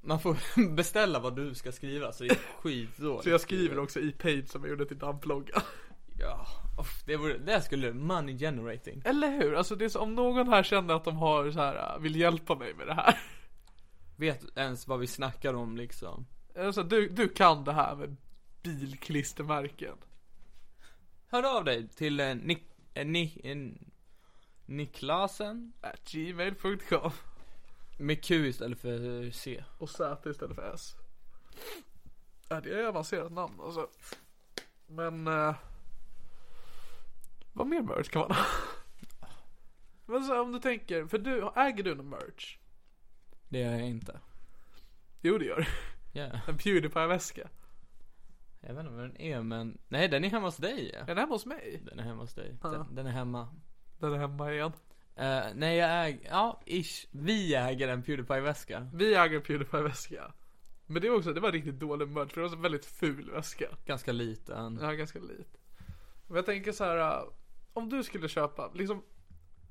[SPEAKER 2] Man får beställa vad du ska skriva så det är skitdåligt.
[SPEAKER 1] Så jag skriver också i Page som jag gjorde till damplogga.
[SPEAKER 2] Ja, uff, det, vore, det skulle money generating.
[SPEAKER 1] Eller hur? Alltså det är så, om någon här känner att de har så här, äh, vill hjälpa mig med det här.
[SPEAKER 2] Vet du ens vad vi snackar om liksom?
[SPEAKER 1] Alltså, du, du kan det här med bilklistermärken.
[SPEAKER 2] Hör av dig till eh, Nick, eh, Ni, eh, Niklasen
[SPEAKER 1] At gmail.com
[SPEAKER 2] med Q istället för eh, C.
[SPEAKER 1] Och Z istället för S. Ja, det är ett avancerat namn alltså. Men... Eh, vad mer merch kan man ha? Men så här, om du tänker, för du, äger du någon merch?
[SPEAKER 2] Det gör jag inte.
[SPEAKER 1] Jo det gör du.
[SPEAKER 2] Yeah.
[SPEAKER 1] En Pewdiepie-väska.
[SPEAKER 2] Jag vet inte vad den är men, nej den är hemma hos dig.
[SPEAKER 1] Är den hemma hos mig?
[SPEAKER 2] Den är hemma hos dig.
[SPEAKER 1] Ja.
[SPEAKER 2] Den, den är hemma.
[SPEAKER 1] Den är hemma igen.
[SPEAKER 2] Eh, nej jag äger, ja ish. Vi äger en Pewdiepie-väska.
[SPEAKER 1] Vi äger Pewdiepie-väska. Men det var också, det var en riktigt dålig merch för det var en väldigt ful väska.
[SPEAKER 2] Ganska liten.
[SPEAKER 1] Ja, ganska lite. Men jag tänker så här. äh, Om du skulle köpa, liksom.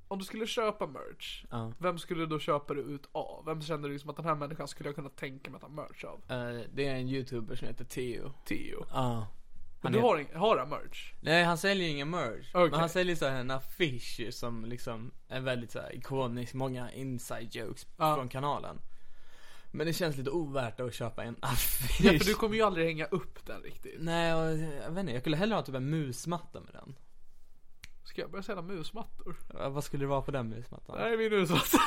[SPEAKER 1] Om du skulle köpa merch.
[SPEAKER 2] Ja.
[SPEAKER 1] Vem skulle du köpa det ut av? Vem känner du liksom att den här människan skulle jag kunna tänka mig att ha merch av?
[SPEAKER 2] Eh, det är en youtuber som heter Theo.
[SPEAKER 1] Theo.
[SPEAKER 2] Ja.
[SPEAKER 1] Men
[SPEAKER 2] Han
[SPEAKER 1] du
[SPEAKER 2] heter-
[SPEAKER 1] har, ing- har han merch?
[SPEAKER 2] Nej han säljer ingen merch.
[SPEAKER 1] Okej.
[SPEAKER 2] Men han säljer så här en affisch som liksom är väldigt så här ikonisk, många inside jokes
[SPEAKER 1] Ja.
[SPEAKER 2] från kanalen. Men det känns lite ovärt att köpa en affisch.
[SPEAKER 1] Ja, för du kommer ju aldrig hänga upp den riktigt.
[SPEAKER 2] Nej jag, jag vet inte, jag skulle hellre ha typ en musmatta med den.
[SPEAKER 1] Ska jag börja sälja musmattor?
[SPEAKER 2] Eh, Vad skulle det vara på den musmattan?
[SPEAKER 1] Det här är min musmatta.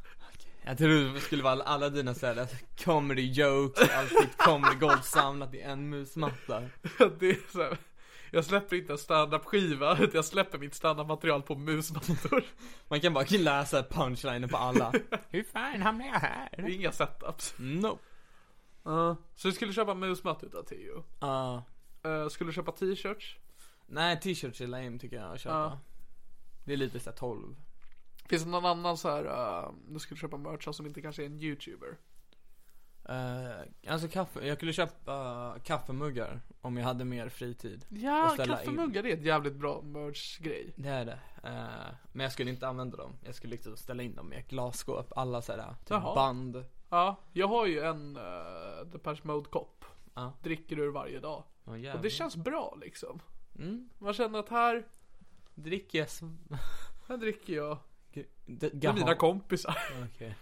[SPEAKER 2] Jag tror det skulle vara alla- alla dina såhär comedy jokes, allt ditt comedy gold samlat i en musmatta.
[SPEAKER 1] det är så här. Jag släpper inte en standup-skiva, utan jag släpper mitt standup-material på musmattor.
[SPEAKER 2] Man kan bara läsa punchlinen på alla. Hur fan hamnade jag här?
[SPEAKER 1] Inga setups.
[SPEAKER 2] Nope.
[SPEAKER 1] Ja. Så du skulle köpa musmatta utav Theo?
[SPEAKER 2] Ah.
[SPEAKER 1] Eh, skulle du köpa t-shirts?
[SPEAKER 2] Nej, t-shirts är lame tycker jag att köpa.
[SPEAKER 1] Ja.
[SPEAKER 2] Det är lite såhär 12.
[SPEAKER 1] Finns det någon annan så här, eh, du skulle köpa merch av som inte kanske är en youtuber?
[SPEAKER 2] Eh, alltså kaffe, jag skulle köpa kaffemuggar om jag hade mer fritid.
[SPEAKER 1] Ja,
[SPEAKER 2] Och ställa
[SPEAKER 1] kaffemuggar är ett jävligt bra merch-grej.
[SPEAKER 2] Det är det. Eh, men jag skulle inte använda dem. Jag skulle liksom ställa in dem i ett glasskåp. Alla såhär typ
[SPEAKER 1] Jaha.
[SPEAKER 2] band.
[SPEAKER 1] Ja, jag har ju en uh, Depeche Mode-kopp.
[SPEAKER 2] Ja.
[SPEAKER 1] Dricker ur varje dag.
[SPEAKER 2] Åh,
[SPEAKER 1] Och
[SPEAKER 2] jävlar.
[SPEAKER 1] det känns bra liksom.
[SPEAKER 2] Mm.
[SPEAKER 1] Man känner att här,
[SPEAKER 2] Dricker jag som...
[SPEAKER 1] här dricker jag
[SPEAKER 2] D-
[SPEAKER 1] med mina kompisar.
[SPEAKER 2] Okej.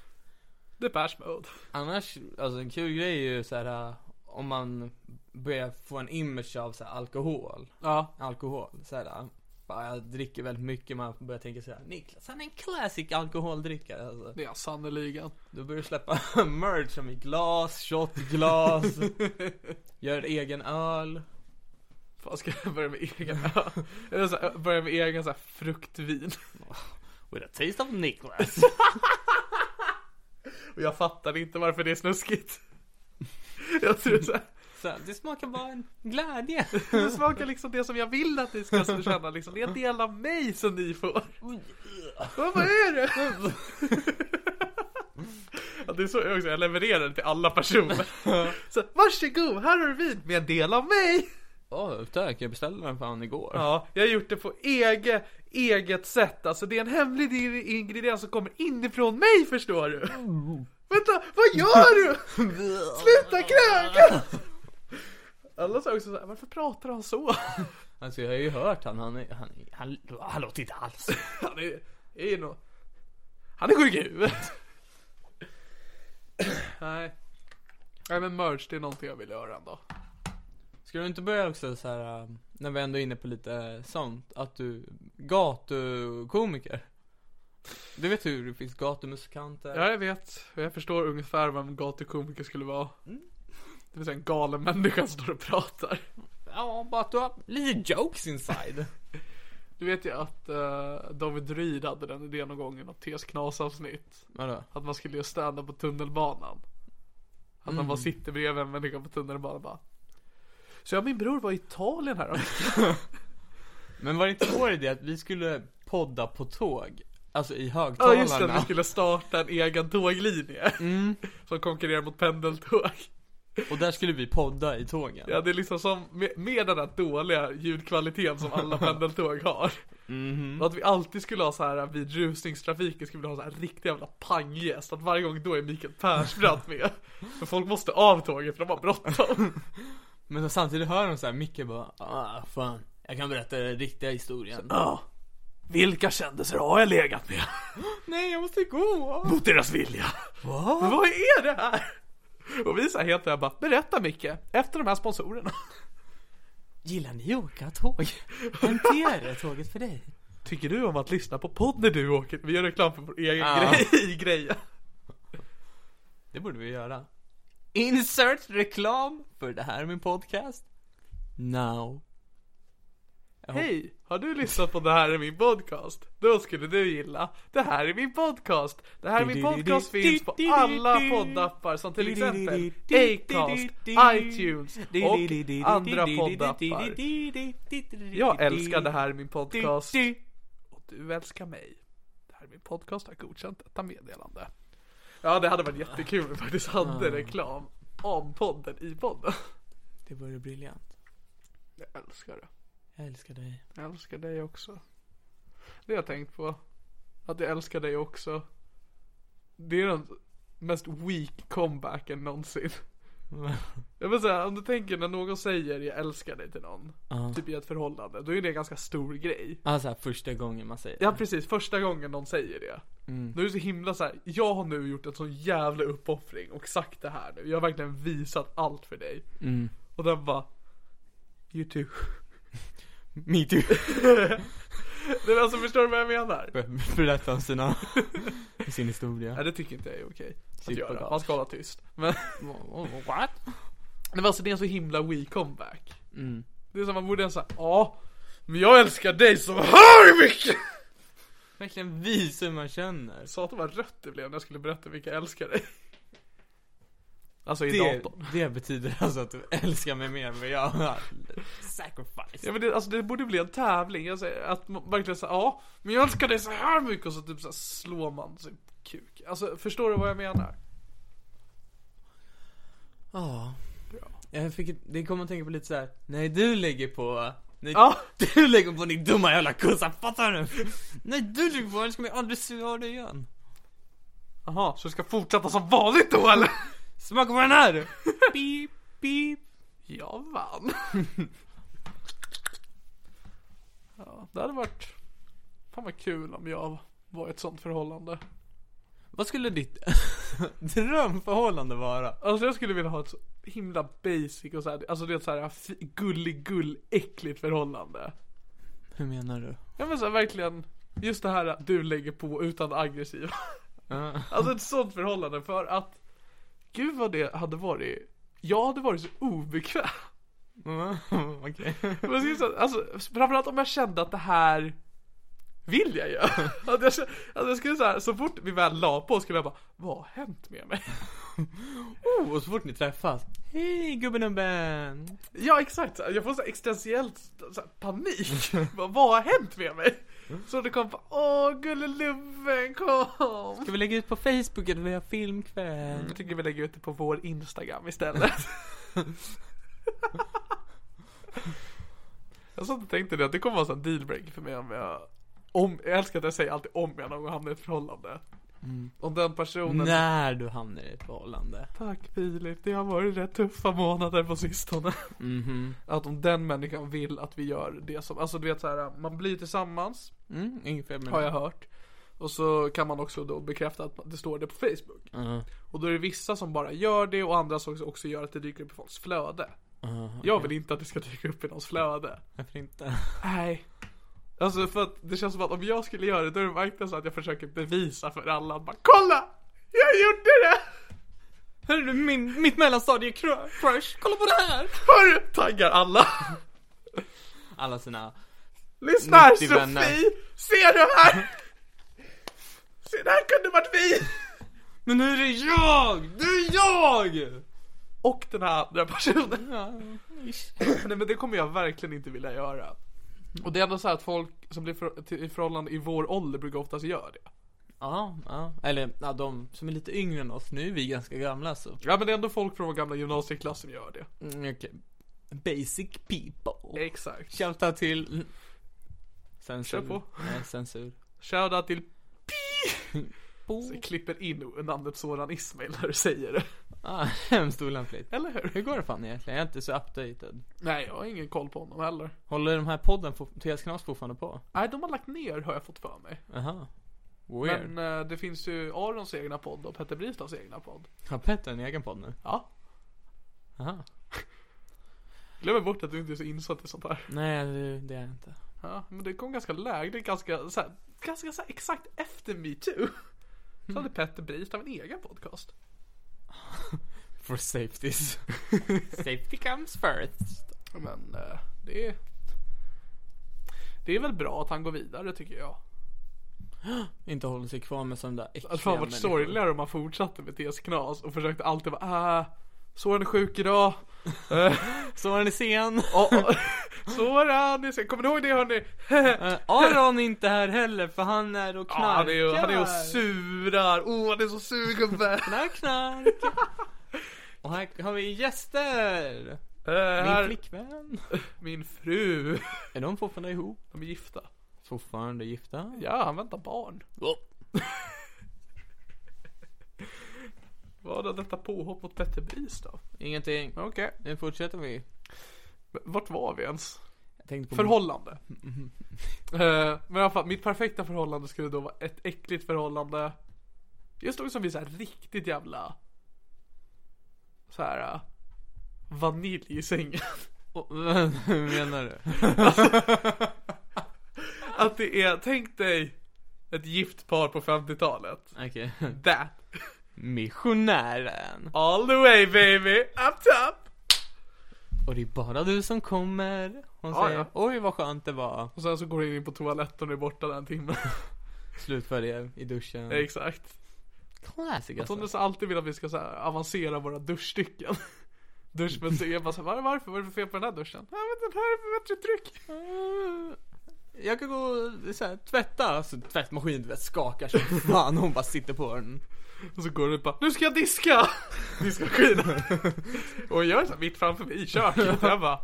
[SPEAKER 1] Depeche Mode.
[SPEAKER 2] Annars, alltså en kul grej är ju såhär om man börjar få en image av såhär alkohol.
[SPEAKER 1] Ja.
[SPEAKER 2] alkohol. Så här, bara, jag dricker väldigt mycket, man börjar tänka så här: Niklas han är en classic alkoholdrickare alltså.
[SPEAKER 1] Det är jag sannerligen.
[SPEAKER 2] Då börjar du släppa merch som i glas, shotglas, gör egen öl.
[SPEAKER 1] Fan ska jag börja med egen Eller så här, börja med egen så här, fruktvin.
[SPEAKER 2] With a taste of Niklas.
[SPEAKER 1] Och jag fattar inte varför det är snuskigt. Jag tror så här,
[SPEAKER 2] så här, det smakar bara en glädje.
[SPEAKER 1] Det smakar liksom det som jag vill att ni ska känna liksom. Det är en del av mig som ni får. Vad vad är det? Ja, det är så jag också, jag levererar det till alla personer. Så, varsågod, här har du vin med en del av mig.
[SPEAKER 2] Åh, tack, jag beställde den fan igår.
[SPEAKER 1] Ja, jag har gjort det på eget, eget sätt. Alltså det är en hemlig di- ingrediens som kommer inifrån mig förstår du. Vänta, vad gör du? Sluta kröka! Alla sa också såhär, varför pratar han så?
[SPEAKER 2] Alltså jag har ju hört han, han, är- han, han, han, han låter inte alls.
[SPEAKER 1] Han är, är nog... Han är sjuk i huvudet. Nej. Nej men merch, det är någonting jag vill göra ändå.
[SPEAKER 2] Ska du inte börja också så här um, när vi ändå är inne på lite eh, sånt, att du, gatukomiker? Du vet hur det finns gatumusikanter?
[SPEAKER 1] Ja jag vet, och jag förstår ungefär vem gatukomiker skulle vara.
[SPEAKER 2] Mm.
[SPEAKER 1] Det vill säga en galen människa som står och pratar.
[SPEAKER 2] Ja, bara att du har lite jokes inside.
[SPEAKER 1] Du vet ju att eh, David Ryd hade den idén någon gång i något TS Knas-avsnitt.
[SPEAKER 2] Vadå?
[SPEAKER 1] Att man skulle just stanna på tunnelbanan. Att man bara sitter bredvid en människa på tunnelbanan och bara. Så ja, min bror var i Italien här
[SPEAKER 2] Men var det inte vår idé att vi skulle podda på tåg? Alltså i
[SPEAKER 1] Ja
[SPEAKER 2] högtalarna?
[SPEAKER 1] just det, vi skulle starta en egen tåglinje. Som konkurrerar mot pendeltåg.
[SPEAKER 2] Och där skulle vi podda i tågen.
[SPEAKER 1] Ja det är liksom som med, med den här dåliga ljudkvaliteten som alla pendeltåg har. Och att vi alltid skulle ha så här äh, vid rusningstrafiken skulle vi ha så här riktiga jävla panggäst. Att varje gång då är Mikael Persbrandt med. För folk måste av tåget för de har bråttom.
[SPEAKER 2] Men så samtidigt hör de så här Micke bara, ah fan, jag kan berätta den riktiga historien.
[SPEAKER 1] Ja. Vilka kändisar har jag legat med?
[SPEAKER 2] Nej, jag måste gå!
[SPEAKER 1] Mot deras vilja.
[SPEAKER 2] Vad?
[SPEAKER 1] Vad är det här? Och vi så här helt jag bara, berätta Micke, efter de här sponsorerna.
[SPEAKER 2] Gillar ni att åka tåg? MTR är tåget för dig.
[SPEAKER 1] Tycker du om att lyssna på podd när du åker? Vi gör reklam för vår egen
[SPEAKER 2] Ja.
[SPEAKER 1] grej i grejen.
[SPEAKER 2] Det borde vi göra. Insert reklam för det här är min podcast. Now.
[SPEAKER 1] Hej! Har du lyssnat på Det här är min podcast? Då skulle du gilla Det här är min podcast! Det här är min podcast finns på alla poddappar som till exempel Acast, iTunes och andra poddappar. Jag älskar Det här är min podcast och du älskar mig. Det här är min podcast har godkänt detta meddelande. Ja, det hade varit jättekul om vi faktiskt hade reklam om podden i podden.
[SPEAKER 2] Det vore briljant.
[SPEAKER 1] Jag älskar det.
[SPEAKER 2] Jag älskar dig.
[SPEAKER 1] Jag älskar dig också. Det har jag tänkt på. Att jag älskar dig också. Det är den mest weak comebacken någonsin. Jag vill säga, om du tänker när någon säger jag älskar dig till någon. Typ i ett förhållande. Då är det en ganska stor grej.
[SPEAKER 2] Alltså första gången man säger det.
[SPEAKER 1] Ja precis, första gången någon säger det. Då är det så himla så här. jag har nu gjort en sån jävla uppoffring och sagt det här nu. Jag har verkligen visat allt för dig. Och den bara, you too.
[SPEAKER 2] Me too.
[SPEAKER 1] Nej, men alltså förstår du vad jag menar?
[SPEAKER 2] Berätta om sina, sin historia.
[SPEAKER 1] Nej det tycker inte jag är okej att
[SPEAKER 2] Superbra.
[SPEAKER 1] göra. Man ska hålla tyst. Men,
[SPEAKER 2] What?
[SPEAKER 1] men alltså det är en så himla we comeback.
[SPEAKER 2] Mm.
[SPEAKER 1] Det är som man borde säga ja, men jag älskar dig så hör mycket!
[SPEAKER 2] Verkligen visa hur man känner.
[SPEAKER 1] Satan vad rött det blev när jag skulle berätta vilka jag älskar dig. Alltså i
[SPEAKER 2] Det,
[SPEAKER 1] datorn.
[SPEAKER 2] det betyder alltså att du älskar mig mer än vad jag har. Sacrifice.
[SPEAKER 1] Ja men det, alltså det borde bli en tävling, jag säger att man verkligen säger ja, men jag älskar dig så här mycket och så typ så här slår man sin kuk. Alltså förstår du vad jag menar?
[SPEAKER 2] Ja. Jag fick, det kommer att tänka på lite så här. nej du lägger på, nej,
[SPEAKER 1] Ja.
[SPEAKER 2] du lägger på din dumma jävla kossa, fattar du? Nej du lägger på, annars kommer jag aldrig svara dig igen.
[SPEAKER 1] Aha, så det ska fortsätta som vanligt då eller?
[SPEAKER 2] Smaka på den här! Beep, beep.
[SPEAKER 1] Jag vann. ja, det hade varit... Fan vad kul om jag var i ett sånt förhållande.
[SPEAKER 2] Vad skulle ditt drömförhållande vara?
[SPEAKER 1] Alltså jag skulle vilja ha ett så himla basic och så här, alltså det är ett så här fi- gullig gull äckligt förhållande.
[SPEAKER 2] Hur menar du?
[SPEAKER 1] Ja men så här, verkligen, just det här att du lägger på utan det aggressiva. Alltså ett sånt förhållande för att, gud vad det hade varit, jag hade varit så obekväm.
[SPEAKER 2] Okej.
[SPEAKER 1] Men det är så- Alltså, framförallt om jag kände att det här vill jag göra. Att jag, kände- alltså jag skulle så, här, så fort vi väl la på skulle jag bara, vad har hänt med mig?
[SPEAKER 2] Oh, och så fort ni träffas, hej gubben och ben.
[SPEAKER 1] Ja exakt, så här, jag får så här existentiellt så här, panik. Vad- vad har hänt med mig? Så det kom bara, åh gullelubben kom.
[SPEAKER 2] Ska vi lägga ut på Facebook att vi har filmkväll?
[SPEAKER 1] Jag tycker vi lägger ut det på vår Instagram istället. jag satt och tänkte det, att det kommer vara en sån dealbreaker för mig om jag... Om, jag älskar att jag säger alltid om jag någon gång hamnar i ett förhållande. Om den personen...
[SPEAKER 2] När du hamnar i ett förhållande.
[SPEAKER 1] Tack Filip, det har varit rätt tuffa månader på sistone. Att om den människan vill att vi gör det som, alltså du vet så här, man blir tillsammans,
[SPEAKER 2] Mm, ungefär men...
[SPEAKER 1] har jag hört. Och så kan man också då bekräfta att det står det på Facebook.
[SPEAKER 2] Ja.
[SPEAKER 1] Och då är det vissa som bara gör det och andra som också- också gör att det dyker upp i folks flöde.
[SPEAKER 2] Mm,
[SPEAKER 1] Jag vill inte att det ska dyka upp i någons flöde.
[SPEAKER 2] Varför inte?
[SPEAKER 1] Nej. Alltså för att det känns som att om jag skulle göra det då är det verkligen så att jag försöker bevisa för alla att bara kolla! Jag gjorde det!
[SPEAKER 2] Hörru du, min, mitt mellanstadie-crush, kolla på det här!
[SPEAKER 1] Hörru! Taggar alla!
[SPEAKER 2] Alla sina,
[SPEAKER 1] Lyssna här
[SPEAKER 2] 90 vänner.
[SPEAKER 1] Sofie! Ser du här? Se, det här kunde varit vi!
[SPEAKER 2] men nu är det jag! Det är jag!
[SPEAKER 1] Och den här andra personen. Nej men det kommer jag verkligen inte vilja göra. Och det är ändå så här att folk som blir för, till, i förhållande i vår ålder brukar oftast göra det.
[SPEAKER 2] Ja, ja, eller ja, de som är lite yngre än oss, nu är vi ganska gamla så.
[SPEAKER 1] Ja men det är ändå folk från vår gamla gymnasieklass som gör det.
[SPEAKER 2] Mm, okej. Basic people.
[SPEAKER 1] Exakt.
[SPEAKER 2] Shoutout till... Censur.
[SPEAKER 1] Kör på.
[SPEAKER 2] Nej, censur.
[SPEAKER 1] Shoutout till
[SPEAKER 2] På.
[SPEAKER 1] Jag klipper in namnet Soran Ismail när du säger det.
[SPEAKER 2] Ah, hemskt olämpligt.
[SPEAKER 1] Eller hur?
[SPEAKER 2] Hur går det fan egentligen? Jag är inte så updated.
[SPEAKER 1] Nej jag har ingen koll på honom heller.
[SPEAKER 2] Håller de här podden, for- TS Knas, fortfarande på?
[SPEAKER 1] Nej de har lagt ner har jag fått för mig.
[SPEAKER 2] Aha. Weird.
[SPEAKER 1] Men eh, det finns ju Arons egna podd och Petter Bristavs egna podd.
[SPEAKER 2] Har Petter en egen podd nu?
[SPEAKER 1] Ja.
[SPEAKER 2] Aha.
[SPEAKER 1] Glömmer bort att du inte är så insatt i sånt här.
[SPEAKER 2] Nej, det- det är jag inte.
[SPEAKER 1] Ja, men det kom ganska lägligt, det är ganska så här, ganska så här, exakt efter metoo.
[SPEAKER 2] Mm.
[SPEAKER 1] Så hade Petter Brist av en egen podcast.
[SPEAKER 2] For safeties. Safety comes first.
[SPEAKER 1] Men eh, det är... Eh, Det är väl bra att han går vidare tycker jag.
[SPEAKER 2] Inte håller sig kvar med sådana där äckliga
[SPEAKER 1] Att fan varit
[SPEAKER 2] människor.
[SPEAKER 1] sorgligare om han fortsatte med TS Knas och försökte alltid vara äh, Soran är sjuk idag. Eh,
[SPEAKER 2] Soran är sen.
[SPEAKER 1] åh, åh, Soran är sen. Kommer ni ihåg det hörni?
[SPEAKER 2] Eh, Aron är inte här heller för han är och
[SPEAKER 1] Ja,
[SPEAKER 2] knarkar.
[SPEAKER 1] han är ju han är och surar. Oh han är så sur gubbe.
[SPEAKER 2] Knark, knark. Och här har vi gäster.
[SPEAKER 1] Eh,
[SPEAKER 2] Min
[SPEAKER 1] här-
[SPEAKER 2] flickvän.
[SPEAKER 1] Min fru.
[SPEAKER 2] Är de fortfarande ihop?
[SPEAKER 1] De är gifta.
[SPEAKER 2] Fortfarande gifta?
[SPEAKER 1] Ja, han väntar barn. Vad är detta påhopp mot Petter Bris då?
[SPEAKER 2] Ingenting.
[SPEAKER 1] Okej.
[SPEAKER 2] Nu fortsätter vi.
[SPEAKER 1] Men Vart var vi ens?
[SPEAKER 2] Jag tänkte på
[SPEAKER 1] Förhållande. Eh, men i alla fall, mitt perfekta förhållande skulle då vara ett äckligt förhållande. Just något som blir så här riktigt jävla... Så här. eh, vanilj i sängen.
[SPEAKER 2] Och- Hur menar du?
[SPEAKER 1] Att det är, tänk dig ett gift par på 50-talet.
[SPEAKER 2] Okej.
[SPEAKER 1] That.
[SPEAKER 2] Missionären.
[SPEAKER 1] All the way baby, up top!
[SPEAKER 2] Och det är bara du som kommer. Hon
[SPEAKER 1] Ja,
[SPEAKER 2] säger
[SPEAKER 1] ja.
[SPEAKER 2] oj vad skönt det var.
[SPEAKER 1] Och sen så går du in på toaletten och är borta den timmen.
[SPEAKER 2] Slutför det i duschen.
[SPEAKER 1] Exakt.
[SPEAKER 2] Classic
[SPEAKER 1] Att hon
[SPEAKER 2] alltså.
[SPEAKER 1] så alltid vill att vi ska så här avancera våra duschstycken. Duschmässigt är jag bara så här, "Var- varför? Vad är det för fel på den här duschen? Ja men den här är för bättre tryck.
[SPEAKER 2] Mm. Jag kan gå och så här, tvätta. Alltså tvättmaskinen du vet skakar som fan. Hon bara sitter på den.
[SPEAKER 1] Och så går du ut bara, nu ska jag diska! Diskmaskinen. och jag är så här mitt framför mig i köket. Jag bara,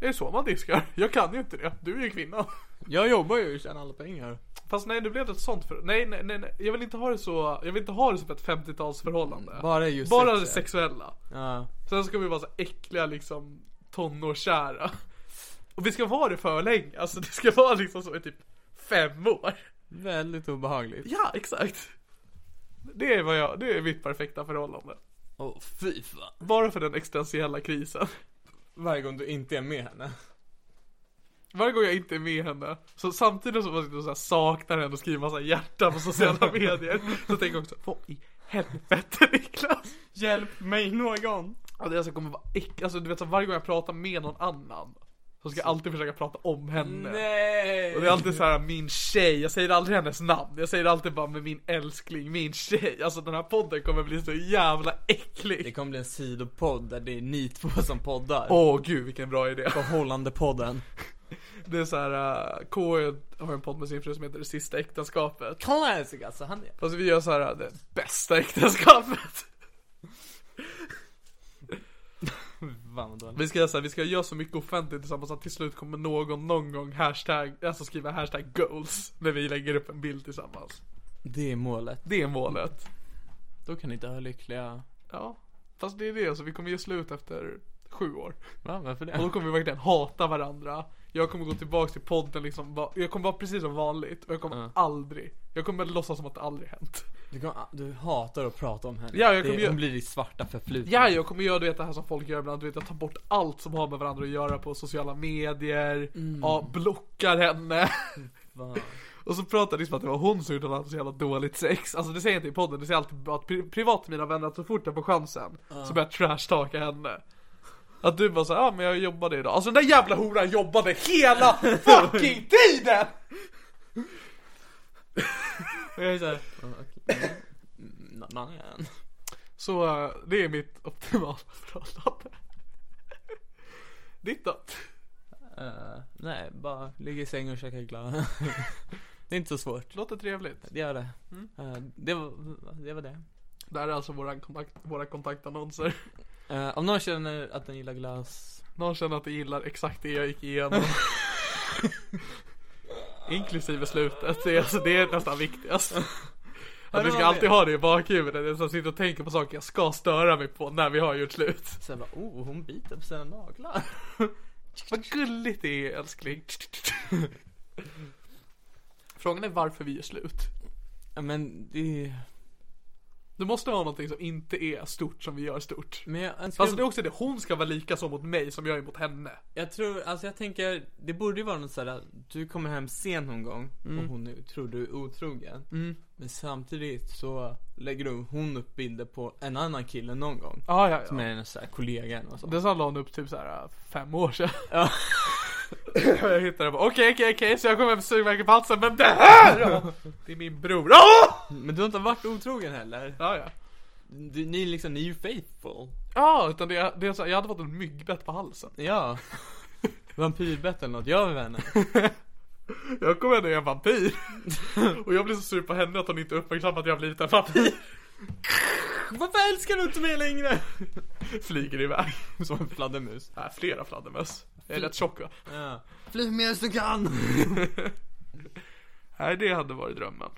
[SPEAKER 1] är det så man diskar? Jag kan ju inte det. Du är ju kvinna.
[SPEAKER 2] Jag jobbar ju och tjänar alla pengar.
[SPEAKER 1] Fast nej, nu blev det ett sånt för... Nej, nej, nej, nej. Jag vill inte ha det så, jag vill inte ha det som ett 50-talsförhållande.
[SPEAKER 2] Bara just
[SPEAKER 1] Bara
[SPEAKER 2] sex,
[SPEAKER 1] det
[SPEAKER 2] ja.
[SPEAKER 1] sexuella.
[SPEAKER 2] Ja.
[SPEAKER 1] Sen ska vi vara så äckliga liksom tonårskära. Och vi ska vara det för länge, alltså det ska vara liksom så i typ fem år.
[SPEAKER 2] Väldigt obehagligt.
[SPEAKER 1] Ja, exakt. Det är vad jag, det är mitt perfekta förhållande.
[SPEAKER 2] Åh oh, fy fan.
[SPEAKER 1] Bara för den existentiella krisen.
[SPEAKER 2] Varje gång du inte är med henne.
[SPEAKER 1] Varje gång jag inte är med henne, så samtidigt som man sitter och så här saknar henne och skriver massa hjärtan på sociala medier, så tänker jag också, vad i helvete Niklas?
[SPEAKER 2] Hjälp mig någon.
[SPEAKER 1] Ja, det alltså kommer vara äck... Alltså du vet så varje gång jag pratar med någon annan, så ska jag alltid försöka prata om henne.
[SPEAKER 2] Nej.
[SPEAKER 1] Och det är alltid så här min tjej, jag säger aldrig hennes namn. Jag säger alltid bara med min älskling, min tjej. Alltså den här podden kommer bli så jävla
[SPEAKER 2] Det
[SPEAKER 1] äcklig.
[SPEAKER 2] kommer bli en sidopodd där det är ni två som poddar.
[SPEAKER 1] Åh gud vilken bra idé.
[SPEAKER 2] Förhållandepodden.
[SPEAKER 1] Det är så här, uh, K har en podd med sin fru som heter Det sista äktenskapet.
[SPEAKER 2] Classic alltså. Han är...
[SPEAKER 1] Fast vi gör så här, äh, det bästa äktenskapet.
[SPEAKER 2] Fan vad dåligt.
[SPEAKER 1] Vi ska göra så här, vi ska göra så mycket offentligt tillsammans att till slut kommer någon någon gång hashtag, alltså skriva hashtag goals. När vi lägger upp en bild tillsammans.
[SPEAKER 2] Det är målet.
[SPEAKER 1] Det är målet.
[SPEAKER 2] Då kan ni inte vara lyckliga.
[SPEAKER 1] Ja. Fast det är det, så vi kommer ge slut efter sju år.
[SPEAKER 2] Va? Varför
[SPEAKER 1] Och då
[SPEAKER 2] det?
[SPEAKER 1] kommer vi verkligen hata varandra. Jag kommer gå tillbaks till podden liksom, va- jag kommer vara precis som vanligt och jag kommer
[SPEAKER 2] Ja.
[SPEAKER 1] aldrig, jag kommer låtsas som att det aldrig hänt.
[SPEAKER 2] Du, kommer, du hatar att prata om henne.
[SPEAKER 1] Ja, jag
[SPEAKER 2] det,
[SPEAKER 1] kommer ju-
[SPEAKER 2] Hon blir ditt svarta förflutna.
[SPEAKER 1] Ja, jag kommer göra du vet, det här som folk gör ibland, du vet jag tar bort allt som har med varandra att göra på sociala medier, ja, blockar henne.
[SPEAKER 2] Fan.
[SPEAKER 1] Och så pratar ni som att det var hon som gjorde något så jävla dåligt sex. Alltså det säger jag inte i podden, det säger alltid bara att pri- privat till mina vänner att så fort jag får chansen så börjar jag trashtalka henne. Att du bara såhär, ja men jag jobbade idag. Alltså den där jävla horan jobbade hela fucking tiden!
[SPEAKER 2] Och jag är såhär. ja, okej. Mm, Nej.
[SPEAKER 1] Så eh, det är mitt optimala förhållande. Ditt då?
[SPEAKER 2] Eh, nej, bara ligga i sängen och käka glass. det är inte så svårt.
[SPEAKER 1] Låter trevligt.
[SPEAKER 2] Det gör det. Eh, det, var, det var det.
[SPEAKER 1] Det här är alltså våra, kontakt, våra kontaktannonser.
[SPEAKER 2] Eh, om någon känner att den gillar glass.
[SPEAKER 1] Någon känner att de gillar exakt det jag gick igenom. Inklusive slutet. Det är, alltså, det är nästan viktigast. Att vi ska alltid ha det i bakhuvudet. Det är så att sitta och tänka på saker jag ska störa mig på när vi har gjort slut.
[SPEAKER 2] Så jag bara, oh, hon biter på sina naglar.
[SPEAKER 1] Vad gulligt det är älskling. Frågan är varför vi är slut.
[SPEAKER 2] Ja, Men det,
[SPEAKER 1] Du måste ha någonting som inte är stort som vi gör stort.
[SPEAKER 2] men jag önskar,
[SPEAKER 1] Fast det är också det, hon ska vara lika så mot mig som jag är mot henne.
[SPEAKER 2] jag tror, alltså jag tänker, det borde ju vara något sådär, du kommer hem sen någon gång och hon nu tror du är otrogen. Men samtidigt så lägger du, hon upp bilder på en annan kille någon gång.
[SPEAKER 1] Ah, ja, ja.
[SPEAKER 2] Med en sån här kollega eller något sånt.
[SPEAKER 1] äh, Det sa hon upp typ så här fem år sedan.
[SPEAKER 2] Ja.
[SPEAKER 1] Jag hittade det bara, okej okej okej så jag kom hem med sugmärken på halsen men det här! Ja, det är min bror. Åh!
[SPEAKER 2] Men du har inte varit otrogen heller.
[SPEAKER 1] Ja ja.
[SPEAKER 2] Du, ni är liksom, ni är ju faithful.
[SPEAKER 1] Ja utan det, det är så här, jag hade fått en myggbett på halsen.
[SPEAKER 2] Ja. Vampyrbett eller något, gör vi vänner?
[SPEAKER 1] Jag kom hem och jag är en vampyr. Och jag blev så sur på henne att hon inte uppmärksammade att jag blivit en vampyr.
[SPEAKER 2] Varför älskar du inte mig längre?
[SPEAKER 1] Flyger iväg.
[SPEAKER 2] Som en fladdermus.
[SPEAKER 1] Äh, flera fladdermöss. Jag är rätt tjock va?
[SPEAKER 2] Ja. Fly medan du kan!
[SPEAKER 1] Nej det hade varit drömmen.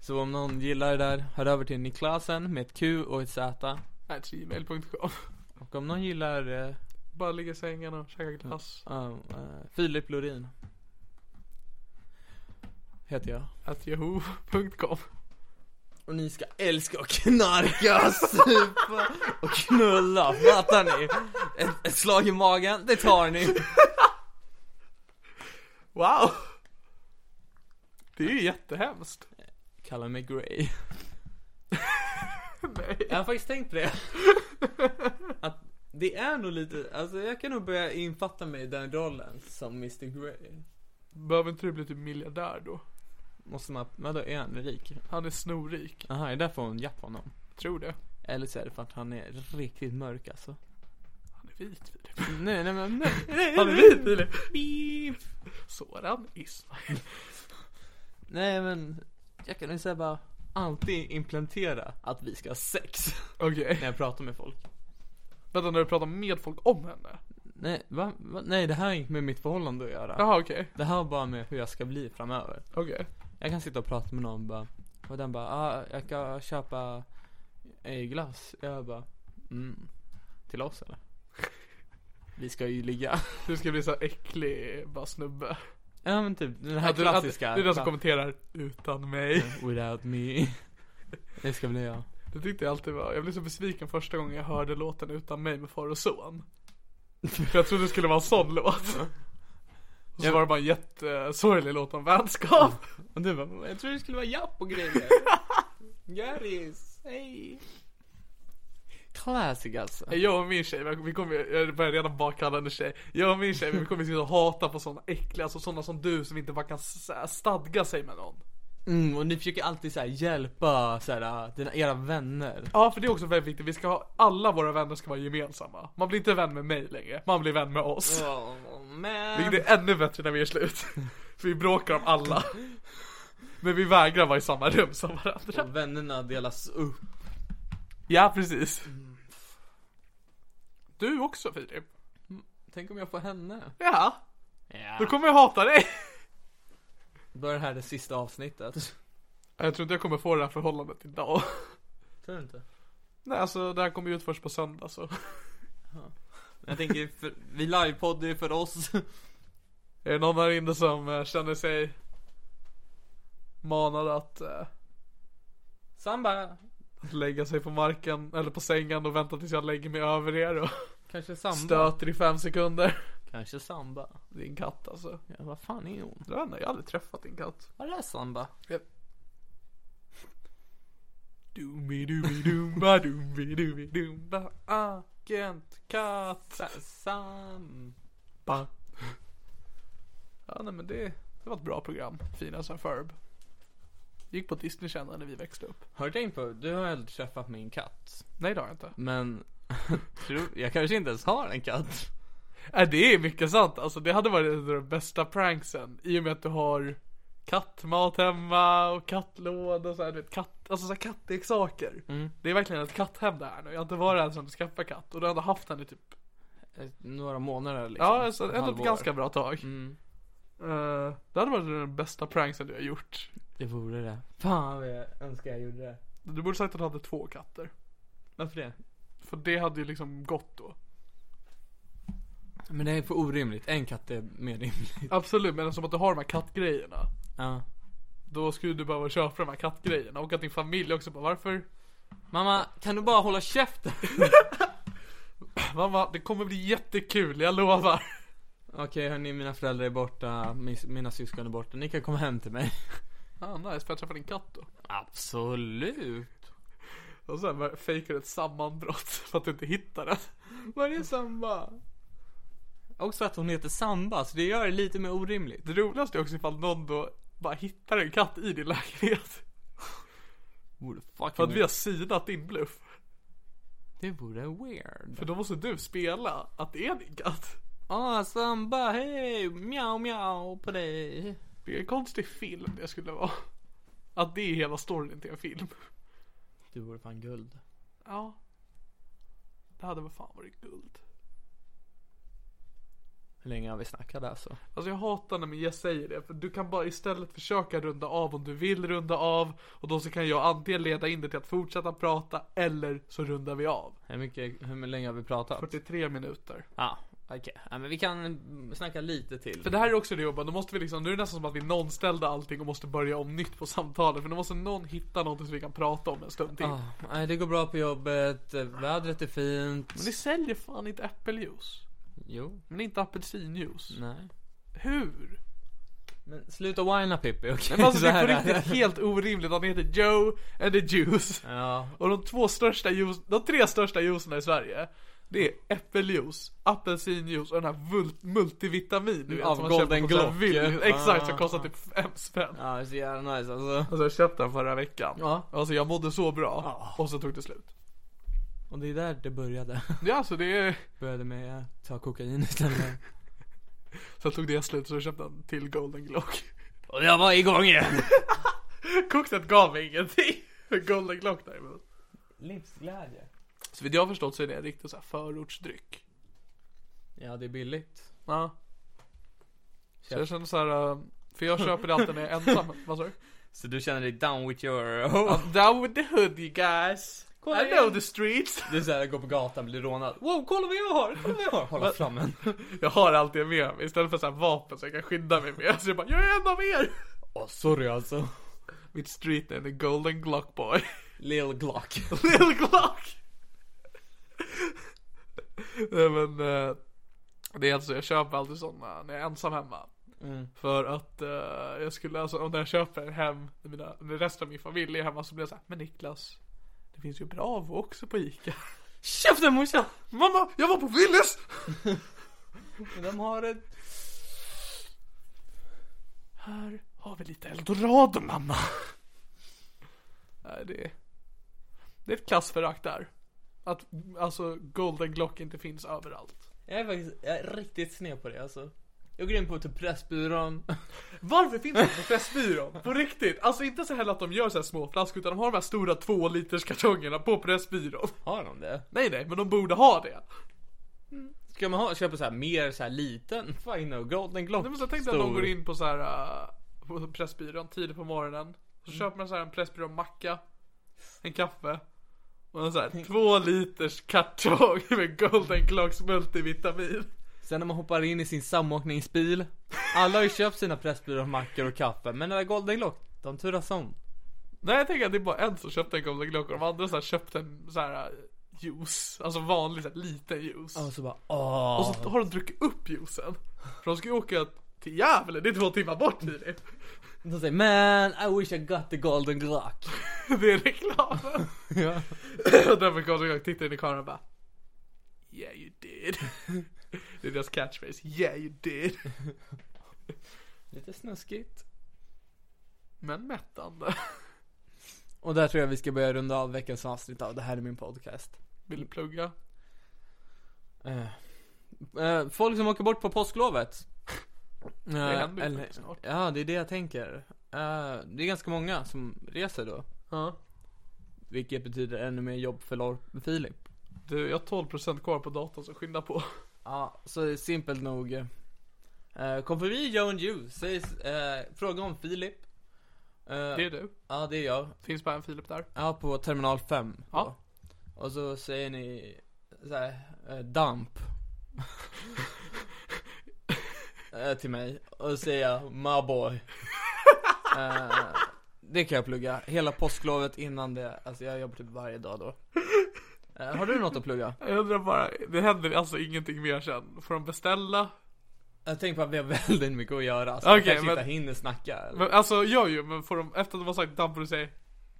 [SPEAKER 2] Så om någon gillar det där, hör över till Niklasen med ett Q och ett Z.
[SPEAKER 1] At gmail.com.
[SPEAKER 2] Och om någon gillar eh,
[SPEAKER 1] Bara ligga i sängen och käka glass.
[SPEAKER 2] ja, eh, Filip Lorin. Heter jag.
[SPEAKER 1] At yahoo.com.
[SPEAKER 2] Och ni ska älska och knarka, supa och knulla, fattar ni? Ett, ett slag i magen, det tar ni.
[SPEAKER 1] Wow! Det är ju jättehemskt.
[SPEAKER 2] Kalla mig Grey.
[SPEAKER 1] Nej.
[SPEAKER 2] Jag har faktiskt tänkt på det. Att det är nog lite, alltså jag kan nog börja infatta mig i den rollen som Mr Grey.
[SPEAKER 1] Behöver inte du bli typ miljardär då?
[SPEAKER 2] Måste man, men då är han rik?
[SPEAKER 1] Han är snorrik.
[SPEAKER 2] Aha, är det därför hon japp honom?
[SPEAKER 1] Tror det.
[SPEAKER 2] Eller så är det för att han är riktigt mörk alltså.
[SPEAKER 1] Han är vit Filip.
[SPEAKER 2] Nej, nej, men nej.
[SPEAKER 1] Han är vit Filip. Beep. Soran Ismail.
[SPEAKER 2] Nej, men jag kan ju säga bara alltid implementera att vi ska ha sex
[SPEAKER 1] Okej.
[SPEAKER 2] när jag pratar med folk.
[SPEAKER 1] Vänta när du pratar med folk om henne?
[SPEAKER 2] Nej, va? va? Nej, det här har inte med mitt förhållande att göra.
[SPEAKER 1] Jaha okej.
[SPEAKER 2] Det här har bara med hur jag ska bli framöver.
[SPEAKER 1] Okej.
[SPEAKER 2] Jag kan sitta och prata med någon bara, och den bara ah, jag ska köpa eh, glass. Jag bara mm, till oss eller? Vi ska ju ligga.
[SPEAKER 1] Du ska bli så här äcklig bara snubbe.
[SPEAKER 2] Ja men typ den här
[SPEAKER 1] Att du, att, det
[SPEAKER 2] klassiska. Mm.
[SPEAKER 1] är den som
[SPEAKER 2] bara,
[SPEAKER 1] kommenterar utan mig.
[SPEAKER 2] Without me. Det ska bli jag.
[SPEAKER 1] Det tyckte jag alltid var. Jag blev så besviken första gången jag hörde låten utan mig med far och son. För jag trodde det skulle vara en sån låt. Och så
[SPEAKER 2] Jag-
[SPEAKER 1] var det bara en jättesorglig låt om vänskap.
[SPEAKER 2] Och du bara, jag tror det skulle vara japp och grejer. Garris, hej. Classic alltså.
[SPEAKER 1] Jag och min tjej, vi kommer, jag börjar redan bakkalla henne tjej. Jag och min tjej, vi kommer sitta och hata på sådana äckliga, alltså sådana som du som inte bara kan s- stadga sig med någon.
[SPEAKER 2] Mm, och ni försöker alltid så här hjälpa så här, ah, dina, era vänner.
[SPEAKER 1] Ja, för det är också väldigt viktigt. Vi ska ha, alla våra vänner ska vara gemensamma. Man blir inte vän med mig längre, man blir vän med oss.
[SPEAKER 2] Oh, man.
[SPEAKER 1] Vilket är ännu bättre när vi är slut. För vi bråkar om alla. Men vi vägrar vara i samma rum som varandra.
[SPEAKER 2] Och vännerna delas upp.
[SPEAKER 1] Ja, precis. Du också Filip.
[SPEAKER 2] Tänk om jag får henne?
[SPEAKER 1] Ja, då
[SPEAKER 2] Ja.
[SPEAKER 1] kommer jag hata dig.
[SPEAKER 2] Då är det här det sista avsnittet.
[SPEAKER 1] Jag tror inte jag kommer få det här förhållandet idag.
[SPEAKER 2] Tror du inte?
[SPEAKER 1] Nej, alltså det här kommer ju ut först på söndag så.
[SPEAKER 2] Jag tänker, för, vi livepoddar ju för oss.
[SPEAKER 1] Är det någon här inne som eh, känner sig manad att eh,
[SPEAKER 2] Samba.
[SPEAKER 1] lägga sig på marken eller på sängen och vänta tills jag lägger mig över er och
[SPEAKER 2] Kanske samba.
[SPEAKER 1] stöter i fem sekunder?
[SPEAKER 2] Kanske samba.
[SPEAKER 1] Din katt alltså.
[SPEAKER 2] Ja, vad fan är hon?
[SPEAKER 1] Jag vet inte, jag har aldrig träffat din katt.
[SPEAKER 2] Vad är samba?
[SPEAKER 1] Doomi doomi doomba doomi doomi doomba Agent katt.
[SPEAKER 2] Sam.
[SPEAKER 1] Ba. Ja nej men det, det var ett bra program. Fina som Ferb. Gick på Disney Channel när vi växte upp.
[SPEAKER 2] Har du tänkt på, du har aldrig träffat min katt.
[SPEAKER 1] Nej det har jag inte.
[SPEAKER 2] Men, tror- jag kanske inte ens har en katt.
[SPEAKER 1] Nej Äh, det är mycket sant alltså, det hade varit en av de bästa pranksen I och med att du har kattmat hemma och kattlåda och så här, du vet, katt, alltså så här kattleksaker
[SPEAKER 2] Mm.
[SPEAKER 1] Det är verkligen ett katthem det här nu, jag har inte varit här som du skaffade katt och du har ändå haft henne i typ
[SPEAKER 2] Eh, Några månader liksom.
[SPEAKER 1] Ja alltså ändå ett
[SPEAKER 2] halvår.
[SPEAKER 1] ganska bra tag
[SPEAKER 2] Mm.
[SPEAKER 1] Eh, Det hade varit den bästa pranksen du har gjort
[SPEAKER 2] Det vore det. Fan vad jag önskar jag gjorde det.
[SPEAKER 1] Du borde sagt att du hade två katter
[SPEAKER 2] Varför det?
[SPEAKER 1] För det hade ju liksom gått då
[SPEAKER 2] Men det är för orimligt. En katt är mer rimligt.
[SPEAKER 1] Absolut men som att du har de här kattgrejerna
[SPEAKER 2] Ja.
[SPEAKER 1] Då skulle du behöva köpa de här kattgrejerna och att din familj också bara varför
[SPEAKER 2] Mamma, kan du bara hålla käften?
[SPEAKER 1] Mamma, det kommer bli jättekul, jag lovar.
[SPEAKER 2] Okej hörni, mina föräldrar är borta, mis- mina syskon är borta. Ni kan komma hem till mig.
[SPEAKER 1] Ah, nice, får jag träffa din katt då?
[SPEAKER 2] Absolut.
[SPEAKER 1] Och sen bara fejkar du ett sammanbrott för att du inte hittar den.
[SPEAKER 2] Var är Samba? Också att hon heter Samba, så det gör det lite mer orimligt.
[SPEAKER 1] Det roligaste är också ifall någon då bara hittar en katt i din lägenhet.
[SPEAKER 2] Vore
[SPEAKER 1] För att
[SPEAKER 2] fucking
[SPEAKER 1] vi har synat din bluff.
[SPEAKER 2] Det vore weird.
[SPEAKER 1] För då måste du spela att det är din katt.
[SPEAKER 2] Ah, Samba, hej! Mjau, mjau på dig.
[SPEAKER 1] Det är en konstig film det skulle vara. Att det är hela storyn till en film.
[SPEAKER 2] Du vore fan guld.
[SPEAKER 1] Ja. Det hade väl fan varit guld.
[SPEAKER 2] Hur länge har vi snackat alltså?
[SPEAKER 1] Alltså jag hatar när min gäst säger det, för du kan bara istället försöka runda av om du vill runda av och då så kan jag antingen leda in det till att fortsätta prata eller så rundar vi av.
[SPEAKER 2] Hur mycket, hur länge har vi pratat?
[SPEAKER 1] 43 minuter.
[SPEAKER 2] Ja, okej. Ja, men vi kan mm, snacka lite till.
[SPEAKER 1] För det här är också det jobbiga, då måste vi liksom, nu är det nästan som att vi nollställde allting och måste börja om nytt på samtalet för nu måste någon hitta någonting som vi kan prata om en stund till.
[SPEAKER 2] Ah, nej, det går bra på jobbet, eh, vädret är fint.
[SPEAKER 1] Men ni säljer fan inte äppeljuice.
[SPEAKER 2] Jo,
[SPEAKER 1] Men inte apelsinjuice.
[SPEAKER 2] nej.
[SPEAKER 1] Hur?
[SPEAKER 2] Men sluta whina Pippi, okej?
[SPEAKER 1] Men alltså
[SPEAKER 2] Så
[SPEAKER 1] det är
[SPEAKER 2] här
[SPEAKER 1] på
[SPEAKER 2] är det.
[SPEAKER 1] riktigt helt orimligt. Han heter Joe and the Juice.
[SPEAKER 2] Ja,
[SPEAKER 1] Och de två största juice, de tre största juicerna i Sverige. Det är äppeljuice, apelsinjuice och den här vul- multivitamin du vet.
[SPEAKER 2] Av
[SPEAKER 1] som man köper
[SPEAKER 2] Golden
[SPEAKER 1] på så här
[SPEAKER 2] Glock,
[SPEAKER 1] Willys.
[SPEAKER 2] ja.
[SPEAKER 1] Exakt, som
[SPEAKER 2] Ah.
[SPEAKER 1] kostar typ fem spänn.
[SPEAKER 2] ja det är så jävla nice alltså.
[SPEAKER 1] Alltså jag köpte den förra veckan.
[SPEAKER 2] Ja.
[SPEAKER 1] Alltså jag mådde så bra.
[SPEAKER 2] Ja.
[SPEAKER 1] Och så tog det slut.
[SPEAKER 2] Och det är där det började.
[SPEAKER 1] Ja, alltså det är...
[SPEAKER 2] Började med att ta kokain istället.
[SPEAKER 1] Sen tog det slut så jag köpte en till Golden Glock.
[SPEAKER 2] Och jag var igång igen.
[SPEAKER 1] Koktet gav mig ingenting. Golden Glock däremot.
[SPEAKER 2] Livsglädje.
[SPEAKER 1] Så vid jag har förstått så är det en riktig så här förortsdryck.
[SPEAKER 2] Ja, det är billigt.
[SPEAKER 1] Ja. Så jag känner så här, eh, för jag köper det alltid när jag är ensam. Vad sa du?
[SPEAKER 2] Så du känner dig down with your...
[SPEAKER 1] I'm down with the hood you guys.
[SPEAKER 2] Kolla
[SPEAKER 1] I know
[SPEAKER 2] igen.
[SPEAKER 1] the streets.
[SPEAKER 2] Du såhär, går på gatan, blir rånad. Wow, kolla vad jag har! Kolla vad jag har! Hålla fram en.
[SPEAKER 1] Jag har alltid med mig istället för så här vapen så jag kan skydda mig med. Så jag bara, jag är en av er.
[SPEAKER 2] Åh, sorry alltså.
[SPEAKER 1] Mitt street name är Golden Glock Boy.
[SPEAKER 2] Lil Glock.
[SPEAKER 1] Little Glock. Nej men, eh, det är alltså, jag köper alltid sådana när jag är ensam hemma. För att eh, jag skulle, alltså om jag köper en hem, när, mina, när resten av min familj är hemma så blir jag såhär, men Niklas, det finns ju Bravo också på Ica.
[SPEAKER 2] Käften morsan!
[SPEAKER 1] Mamma, jag var på Willys!
[SPEAKER 2] De har ett...
[SPEAKER 1] Här har vi lite eldorado mamma. Nej det är, det är ett klassförakt där. Att alltså Golden Glock inte finns överallt.
[SPEAKER 2] Jag är faktiskt, jag är riktigt sned på det alltså. Jag går in på typ Pressbyrån.
[SPEAKER 1] Varför finns det inte på Pressbyrån? På riktigt? Alltså inte så heller att de gör så här små flaskor utan de har de här stora två liters kartongerna på Pressbyrån.
[SPEAKER 2] Har de det?
[SPEAKER 1] Nej nej, men de borde ha det.
[SPEAKER 2] Ska man ha, köpa så här mer så här liten? Fine no, Golden Glock.
[SPEAKER 1] Nej, men så tänk dig att de går in på så här äh, på Pressbyrån tidigt på morgonen. Så köper man så här en Pressbyrån-macka. En kaffe. Och en så här två liters kartong med Golden Glocks multivitamin.
[SPEAKER 2] Sen när man hoppar in i sin samåkningsbil. Alla har ju köpt sina Pressbyrån-mackor och kaffe. Men den där Golden Glock, de turas om.
[SPEAKER 1] Nej jag tänker att det är bara en som köpte en Golden Glock och de andra så här köpte en så här äh, juice. Alltså vanlig så här, liten juice.
[SPEAKER 2] Och så bara åh.
[SPEAKER 1] Och så har de druckit upp juicen. För de ska ju åka till Gävle, det är två timmar bort i det.
[SPEAKER 2] De säger man I wish I got the Golden Glock.
[SPEAKER 1] Det är reklamen.
[SPEAKER 2] ja.
[SPEAKER 1] Och därför kom jag och tittade in i kameran och bara Yeah you did. Det är deras catchphrase. Yeah you did.
[SPEAKER 2] Lite snuskigt.
[SPEAKER 1] Men mättande.
[SPEAKER 2] Och där tror jag vi ska börja runda av veckans avsnitt av Det här är min podcast.
[SPEAKER 1] Vill du plugga?
[SPEAKER 2] Eh, eh, folk som åker bort på påsklovet. det
[SPEAKER 1] händer ju faktiskt snart.
[SPEAKER 2] Ja, det är det jag tänker. Eh, det är ganska många som reser då.
[SPEAKER 1] Ja.
[SPEAKER 2] Vilket betyder ännu mer jobb för Lor- Filip.
[SPEAKER 1] Du, jag har 12% kvar på datorn så skynda på.
[SPEAKER 2] Ja, så simpelt nog. Eh, kom förbi Joe and you, säg, eh, fråga om Filip. Eh,
[SPEAKER 1] Det är du.
[SPEAKER 2] Ja, det är jag.
[SPEAKER 1] Finns bara en Filip där.
[SPEAKER 2] Ja, på terminal 5.
[SPEAKER 1] Ja.
[SPEAKER 2] Och så säger ni så här, eh, damp. eh, till mig. Och så säger jag, my boy. eh, det kan jag plugga. Hela påsklovet innan det. Alltså jag jobbar typ varje dag då. Eh, har du något att plugga?
[SPEAKER 1] Jag undrar bara, det händer alltså ingenting mer sen. Får de beställa?
[SPEAKER 2] Jag tänker på att vi har väldigt mycket att göra. Så
[SPEAKER 1] Okej,
[SPEAKER 2] jag kanske
[SPEAKER 1] men-
[SPEAKER 2] inte hinner snacka. Eller?
[SPEAKER 1] Men, alltså gör ju, men får de, efter att de har sagt damp och du säger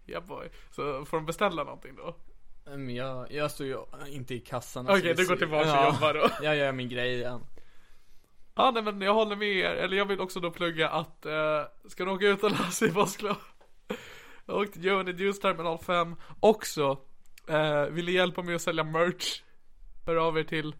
[SPEAKER 1] yeah boy. Så får de beställa någonting då?
[SPEAKER 2] Men Mm, jag, jag står ju inte i kassan.
[SPEAKER 1] Okej, du går tillbaka och jobbar då.
[SPEAKER 2] Jag gör min grej igen.
[SPEAKER 1] Ja, nej men jag håller med er. Eller jag vill också då plugga att, eh, ska ni åka utomlands i Moskva? Jag åkte Johan i News Terminal 5. Också, eh, vill ni hjälpa mig att sälja merch? Hör av er till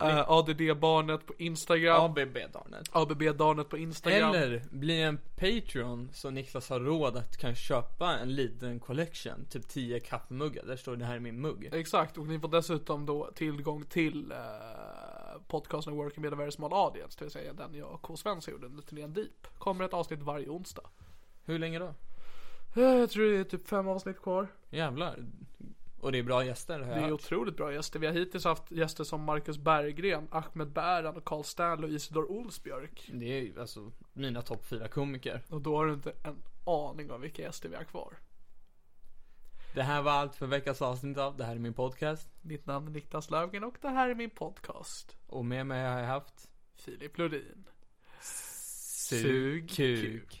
[SPEAKER 1] eh, ADD-barnet på Instagram.
[SPEAKER 2] ABB-darnet.
[SPEAKER 1] ABB-darnet på Instagram.
[SPEAKER 2] Eller bli en Patreon så Niklas har råd att kanske köpa en liten collection, typ 10 kaffemuggar. Där står det här är min mugg.
[SPEAKER 1] Exakt, och ni får dessutom då tillgång till eh, podcasten Working med a very small audience, det vill säga den jag och K. Svensson gjorde under turnén Deep. Kommer ett avsnitt varje onsdag.
[SPEAKER 2] Hur länge då?
[SPEAKER 1] Eh, Jag tror det är typ fem avsnitt kvar.
[SPEAKER 2] Jävlar. Och det är bra gäster har
[SPEAKER 1] Det
[SPEAKER 2] jag
[SPEAKER 1] är
[SPEAKER 2] hört.
[SPEAKER 1] otroligt bra gäster. Vi har hittills haft gäster som Marcus Berggren, Ahmed Bäran och Carl Stanley och Isidor Olsbjörk.
[SPEAKER 2] Det är ju alltså mina topp fyra komiker.
[SPEAKER 1] Och då har du inte en aning om vilka gäster vi har kvar.
[SPEAKER 2] Det här var allt för veckans avsnitt av Det här är min podcast.
[SPEAKER 1] Mitt namn är Niklas Löfgren och det här är min podcast.
[SPEAKER 2] Och med mig har jag haft
[SPEAKER 1] Filip Lodin.
[SPEAKER 2] Sugkuk.